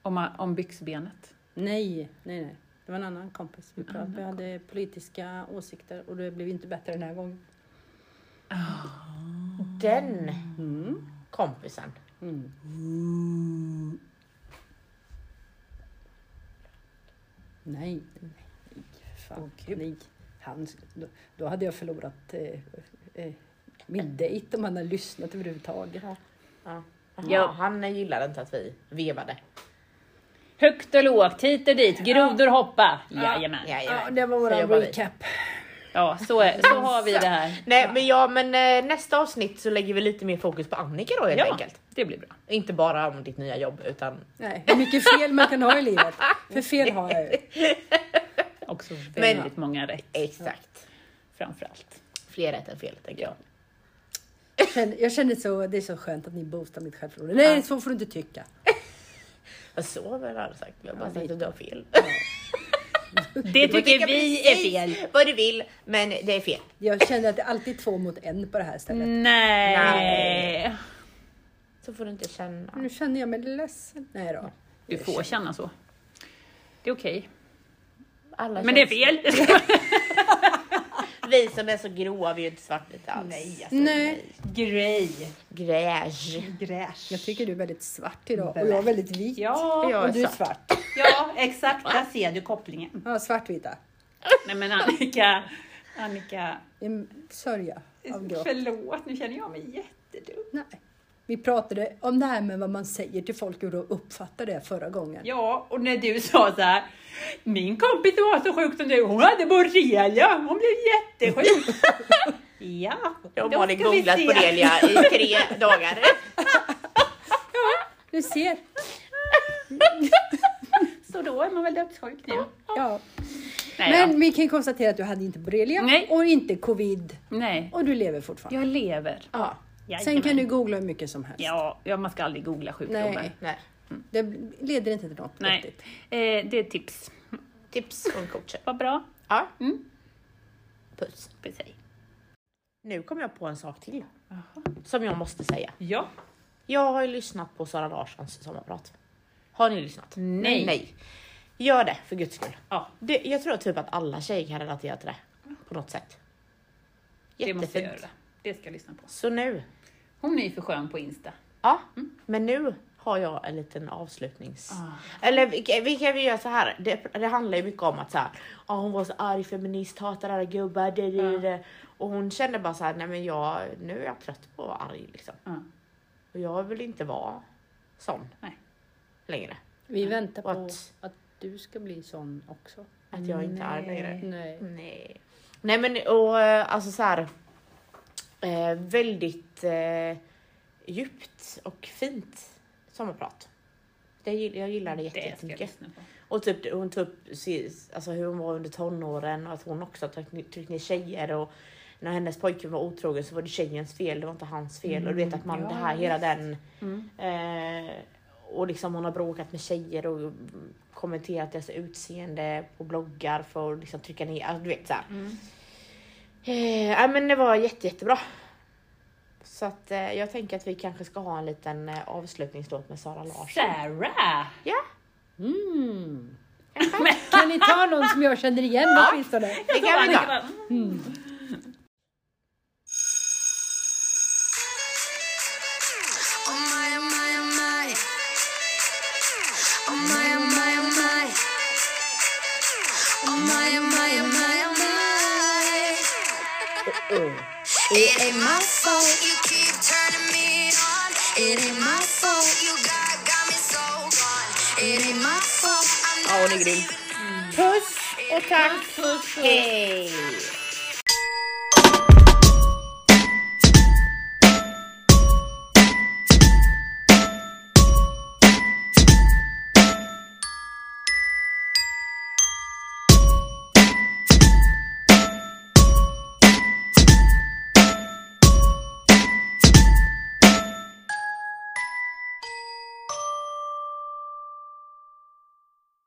[SPEAKER 1] Om, om byxbenet.
[SPEAKER 5] Nej, nej, nej. Det var en annan kompis. Vi, pratade, vi hade politiska åsikter och det blev inte bättre den här gången.
[SPEAKER 2] Den
[SPEAKER 5] Mm.
[SPEAKER 2] kompisen.
[SPEAKER 5] Mm. Nej, nej, nej. Fan,
[SPEAKER 1] Åh, gud.
[SPEAKER 5] nej. Han, då, då hade jag förlorat eh, eh, min dejt om han hade lyssnat överhuvudtaget.
[SPEAKER 2] Jaha,
[SPEAKER 1] Ja.
[SPEAKER 2] Han gillade inte att vi vevade.
[SPEAKER 1] Högt och lågt, hit och dit, grodor hoppa. Jajamän.
[SPEAKER 2] Jajamän.
[SPEAKER 5] Ja, det var
[SPEAKER 2] Så
[SPEAKER 5] våran
[SPEAKER 2] jobbar vi.
[SPEAKER 5] recap.
[SPEAKER 1] Ja, så, är, så har vi det här.
[SPEAKER 2] Nej men ja men eh, nästa avsnitt så lägger vi lite mer fokus på Annika då helt
[SPEAKER 1] Ja,
[SPEAKER 2] enkelt.
[SPEAKER 1] det blir bra.
[SPEAKER 2] Inte bara om ditt nya jobb utan
[SPEAKER 5] Nej, hur mycket fel man kan ha i livet. För fel har jag ju.
[SPEAKER 1] Också väldigt många rätt
[SPEAKER 2] exakt.
[SPEAKER 1] framförallt.
[SPEAKER 2] Fler rätt än fel tänker jag.
[SPEAKER 5] Jag känner- Jag känner så, det är så skönt att ni boostar mitt självförtroende. Nej, så får du inte tycka.
[SPEAKER 2] Jag sover har du sagt. Jag har bara sagt att du har fel.
[SPEAKER 1] Det
[SPEAKER 2] Du får tycka
[SPEAKER 1] tycker vi är
[SPEAKER 2] precis
[SPEAKER 1] fel.
[SPEAKER 2] Vad du vill men det är fel.
[SPEAKER 5] Jag känner att det alltid är två mot en på det här stället.
[SPEAKER 1] Mm. Nej.
[SPEAKER 2] Så får du inte känna.
[SPEAKER 1] Mm.
[SPEAKER 5] Nu känner jag mig ledsen. Nej då.
[SPEAKER 1] Du får känna så. Det är okej.
[SPEAKER 2] Alla
[SPEAKER 1] Men det är
[SPEAKER 2] känslor.
[SPEAKER 1] fel.
[SPEAKER 2] Vi som är så gråa vi är ju inte svartvita alls. Nej.
[SPEAKER 1] alltså.
[SPEAKER 5] Nej.
[SPEAKER 1] Grej.
[SPEAKER 2] Gräsch.
[SPEAKER 1] Gräsch.
[SPEAKER 5] Jag tycker du är väldigt svart idag och jag är väldigt vit.
[SPEAKER 1] Ja,
[SPEAKER 2] Jag är
[SPEAKER 5] och du är
[SPEAKER 2] svart.
[SPEAKER 5] svart.
[SPEAKER 1] ja, exakt. Där ser du kopplingen.
[SPEAKER 5] Ja, svartvita.
[SPEAKER 1] Nej men Annika, Annika.
[SPEAKER 5] En sörja av grått.
[SPEAKER 1] Förlåt, nu känner jag mig jättedum.
[SPEAKER 5] Nej. Vi pratade om det här med vad man säger till folk och hur de uppfattar det förra gången.
[SPEAKER 1] Ja, och när du sa så här, min kompis var så sjuk som du, hon hade borrelia, hon blev jättesjuk. ja,
[SPEAKER 2] Jag och
[SPEAKER 1] då
[SPEAKER 2] Malin
[SPEAKER 1] ska vi
[SPEAKER 2] googlat
[SPEAKER 1] se.
[SPEAKER 2] på Delia i tre dagar.
[SPEAKER 5] Du ser.
[SPEAKER 1] Så då är man väl dödssjuk nu?
[SPEAKER 5] Ja.
[SPEAKER 1] Nej,
[SPEAKER 5] Men
[SPEAKER 1] ja.
[SPEAKER 5] vi kan konstatera att du hade inte borrelia
[SPEAKER 1] Nej.
[SPEAKER 5] och inte covid.
[SPEAKER 1] Nej.
[SPEAKER 5] Och du lever fortfarande.
[SPEAKER 1] jag lever.
[SPEAKER 5] Ja. Sen
[SPEAKER 1] Jajamän.
[SPEAKER 5] kan du googla hur mycket som helst.
[SPEAKER 1] Ja, ja, man ska aldrig googla sjukdomar.
[SPEAKER 5] Nej,
[SPEAKER 2] Nej.
[SPEAKER 5] det leder inte till något
[SPEAKER 1] Nej.
[SPEAKER 5] vettigt.
[SPEAKER 1] Eh, det är ett tips.
[SPEAKER 2] Tips från coachen.
[SPEAKER 1] Vad bra
[SPEAKER 2] Ja.
[SPEAKER 1] Mm.
[SPEAKER 2] Puss.
[SPEAKER 1] för sig.
[SPEAKER 2] Nu kom jag på en sak till. Som jag måste säga.
[SPEAKER 1] Ja.
[SPEAKER 2] Jag har ju lyssnat på Sara Larssons sommarprat. Har ni lyssnat?
[SPEAKER 1] Nej.
[SPEAKER 2] Nej. Gör det för guds skull.
[SPEAKER 1] Ja.
[SPEAKER 2] Det, jag tror typ att alla tjejer kan relatera till det. På något sätt.
[SPEAKER 1] Det måste jag
[SPEAKER 2] Jättefint.
[SPEAKER 1] göra. Det ska jag lyssna på.
[SPEAKER 2] Så nu.
[SPEAKER 1] Hon är ju för skön på Insta.
[SPEAKER 2] Ja,
[SPEAKER 1] Mm.
[SPEAKER 2] men nu har jag en liten avslutnings... Eller vi kan- vi kan vi göra så här. Det, det handlar ju mycket om att så här, "Ja, hon var så arg feminist, hatar alla gubbar. Det, det, det. Och hon kände bara så här, nej men jag, nu är jag trött på att vara arg liksom.
[SPEAKER 1] Ja.
[SPEAKER 2] Och jag vill inte vara sån
[SPEAKER 1] Nej.
[SPEAKER 2] längre.
[SPEAKER 5] Vi väntar på
[SPEAKER 2] What?
[SPEAKER 5] att du ska bli sån också.
[SPEAKER 2] Att jag inte är arg längre.
[SPEAKER 5] Nej.
[SPEAKER 2] Nej. Nej men och eh, alltså så här. Eh, väldigt eh, djupt och fint sommarprat. Det, gill- jag gillar det
[SPEAKER 1] Det ska jag
[SPEAKER 2] jättemycket.
[SPEAKER 1] lyssna på.
[SPEAKER 2] Och typ, hon tog upp si- alltså hur hon var under tonåren och att hon också har tryckt, ner- tryckt ner tjejer och när hennes pojkvän var otrogen så var det tjejens fel, det var inte hans fel. och du vet att man, det här, hela den... Eh, och liksom hon har bråkat med tjejer och mm, kommenterat deras utseende på bloggar för att liksom trycka ner, alltså du vet såhär. Eh, ja, men det var jätte, jättebra. Så att eh, jag tänker att vi kanske ska ha en liten eh, avslutningslåt med Sara Larsson.
[SPEAKER 1] Sarah!
[SPEAKER 2] Ja,
[SPEAKER 5] Mm. Kan ni ta någon som jag känner igen åtminstone?
[SPEAKER 2] det kan vi ta.
[SPEAKER 6] Oh my, oh my, oh my. Oh my, oh my, oh my. Oh my, oh my, oh my, oh my. It ain't my fault you keep turning me on. It ain't my fault you got got me so gone. It ain't my fault I'm
[SPEAKER 2] Ja, hon är grym. Puss och tack. Puss. Hej.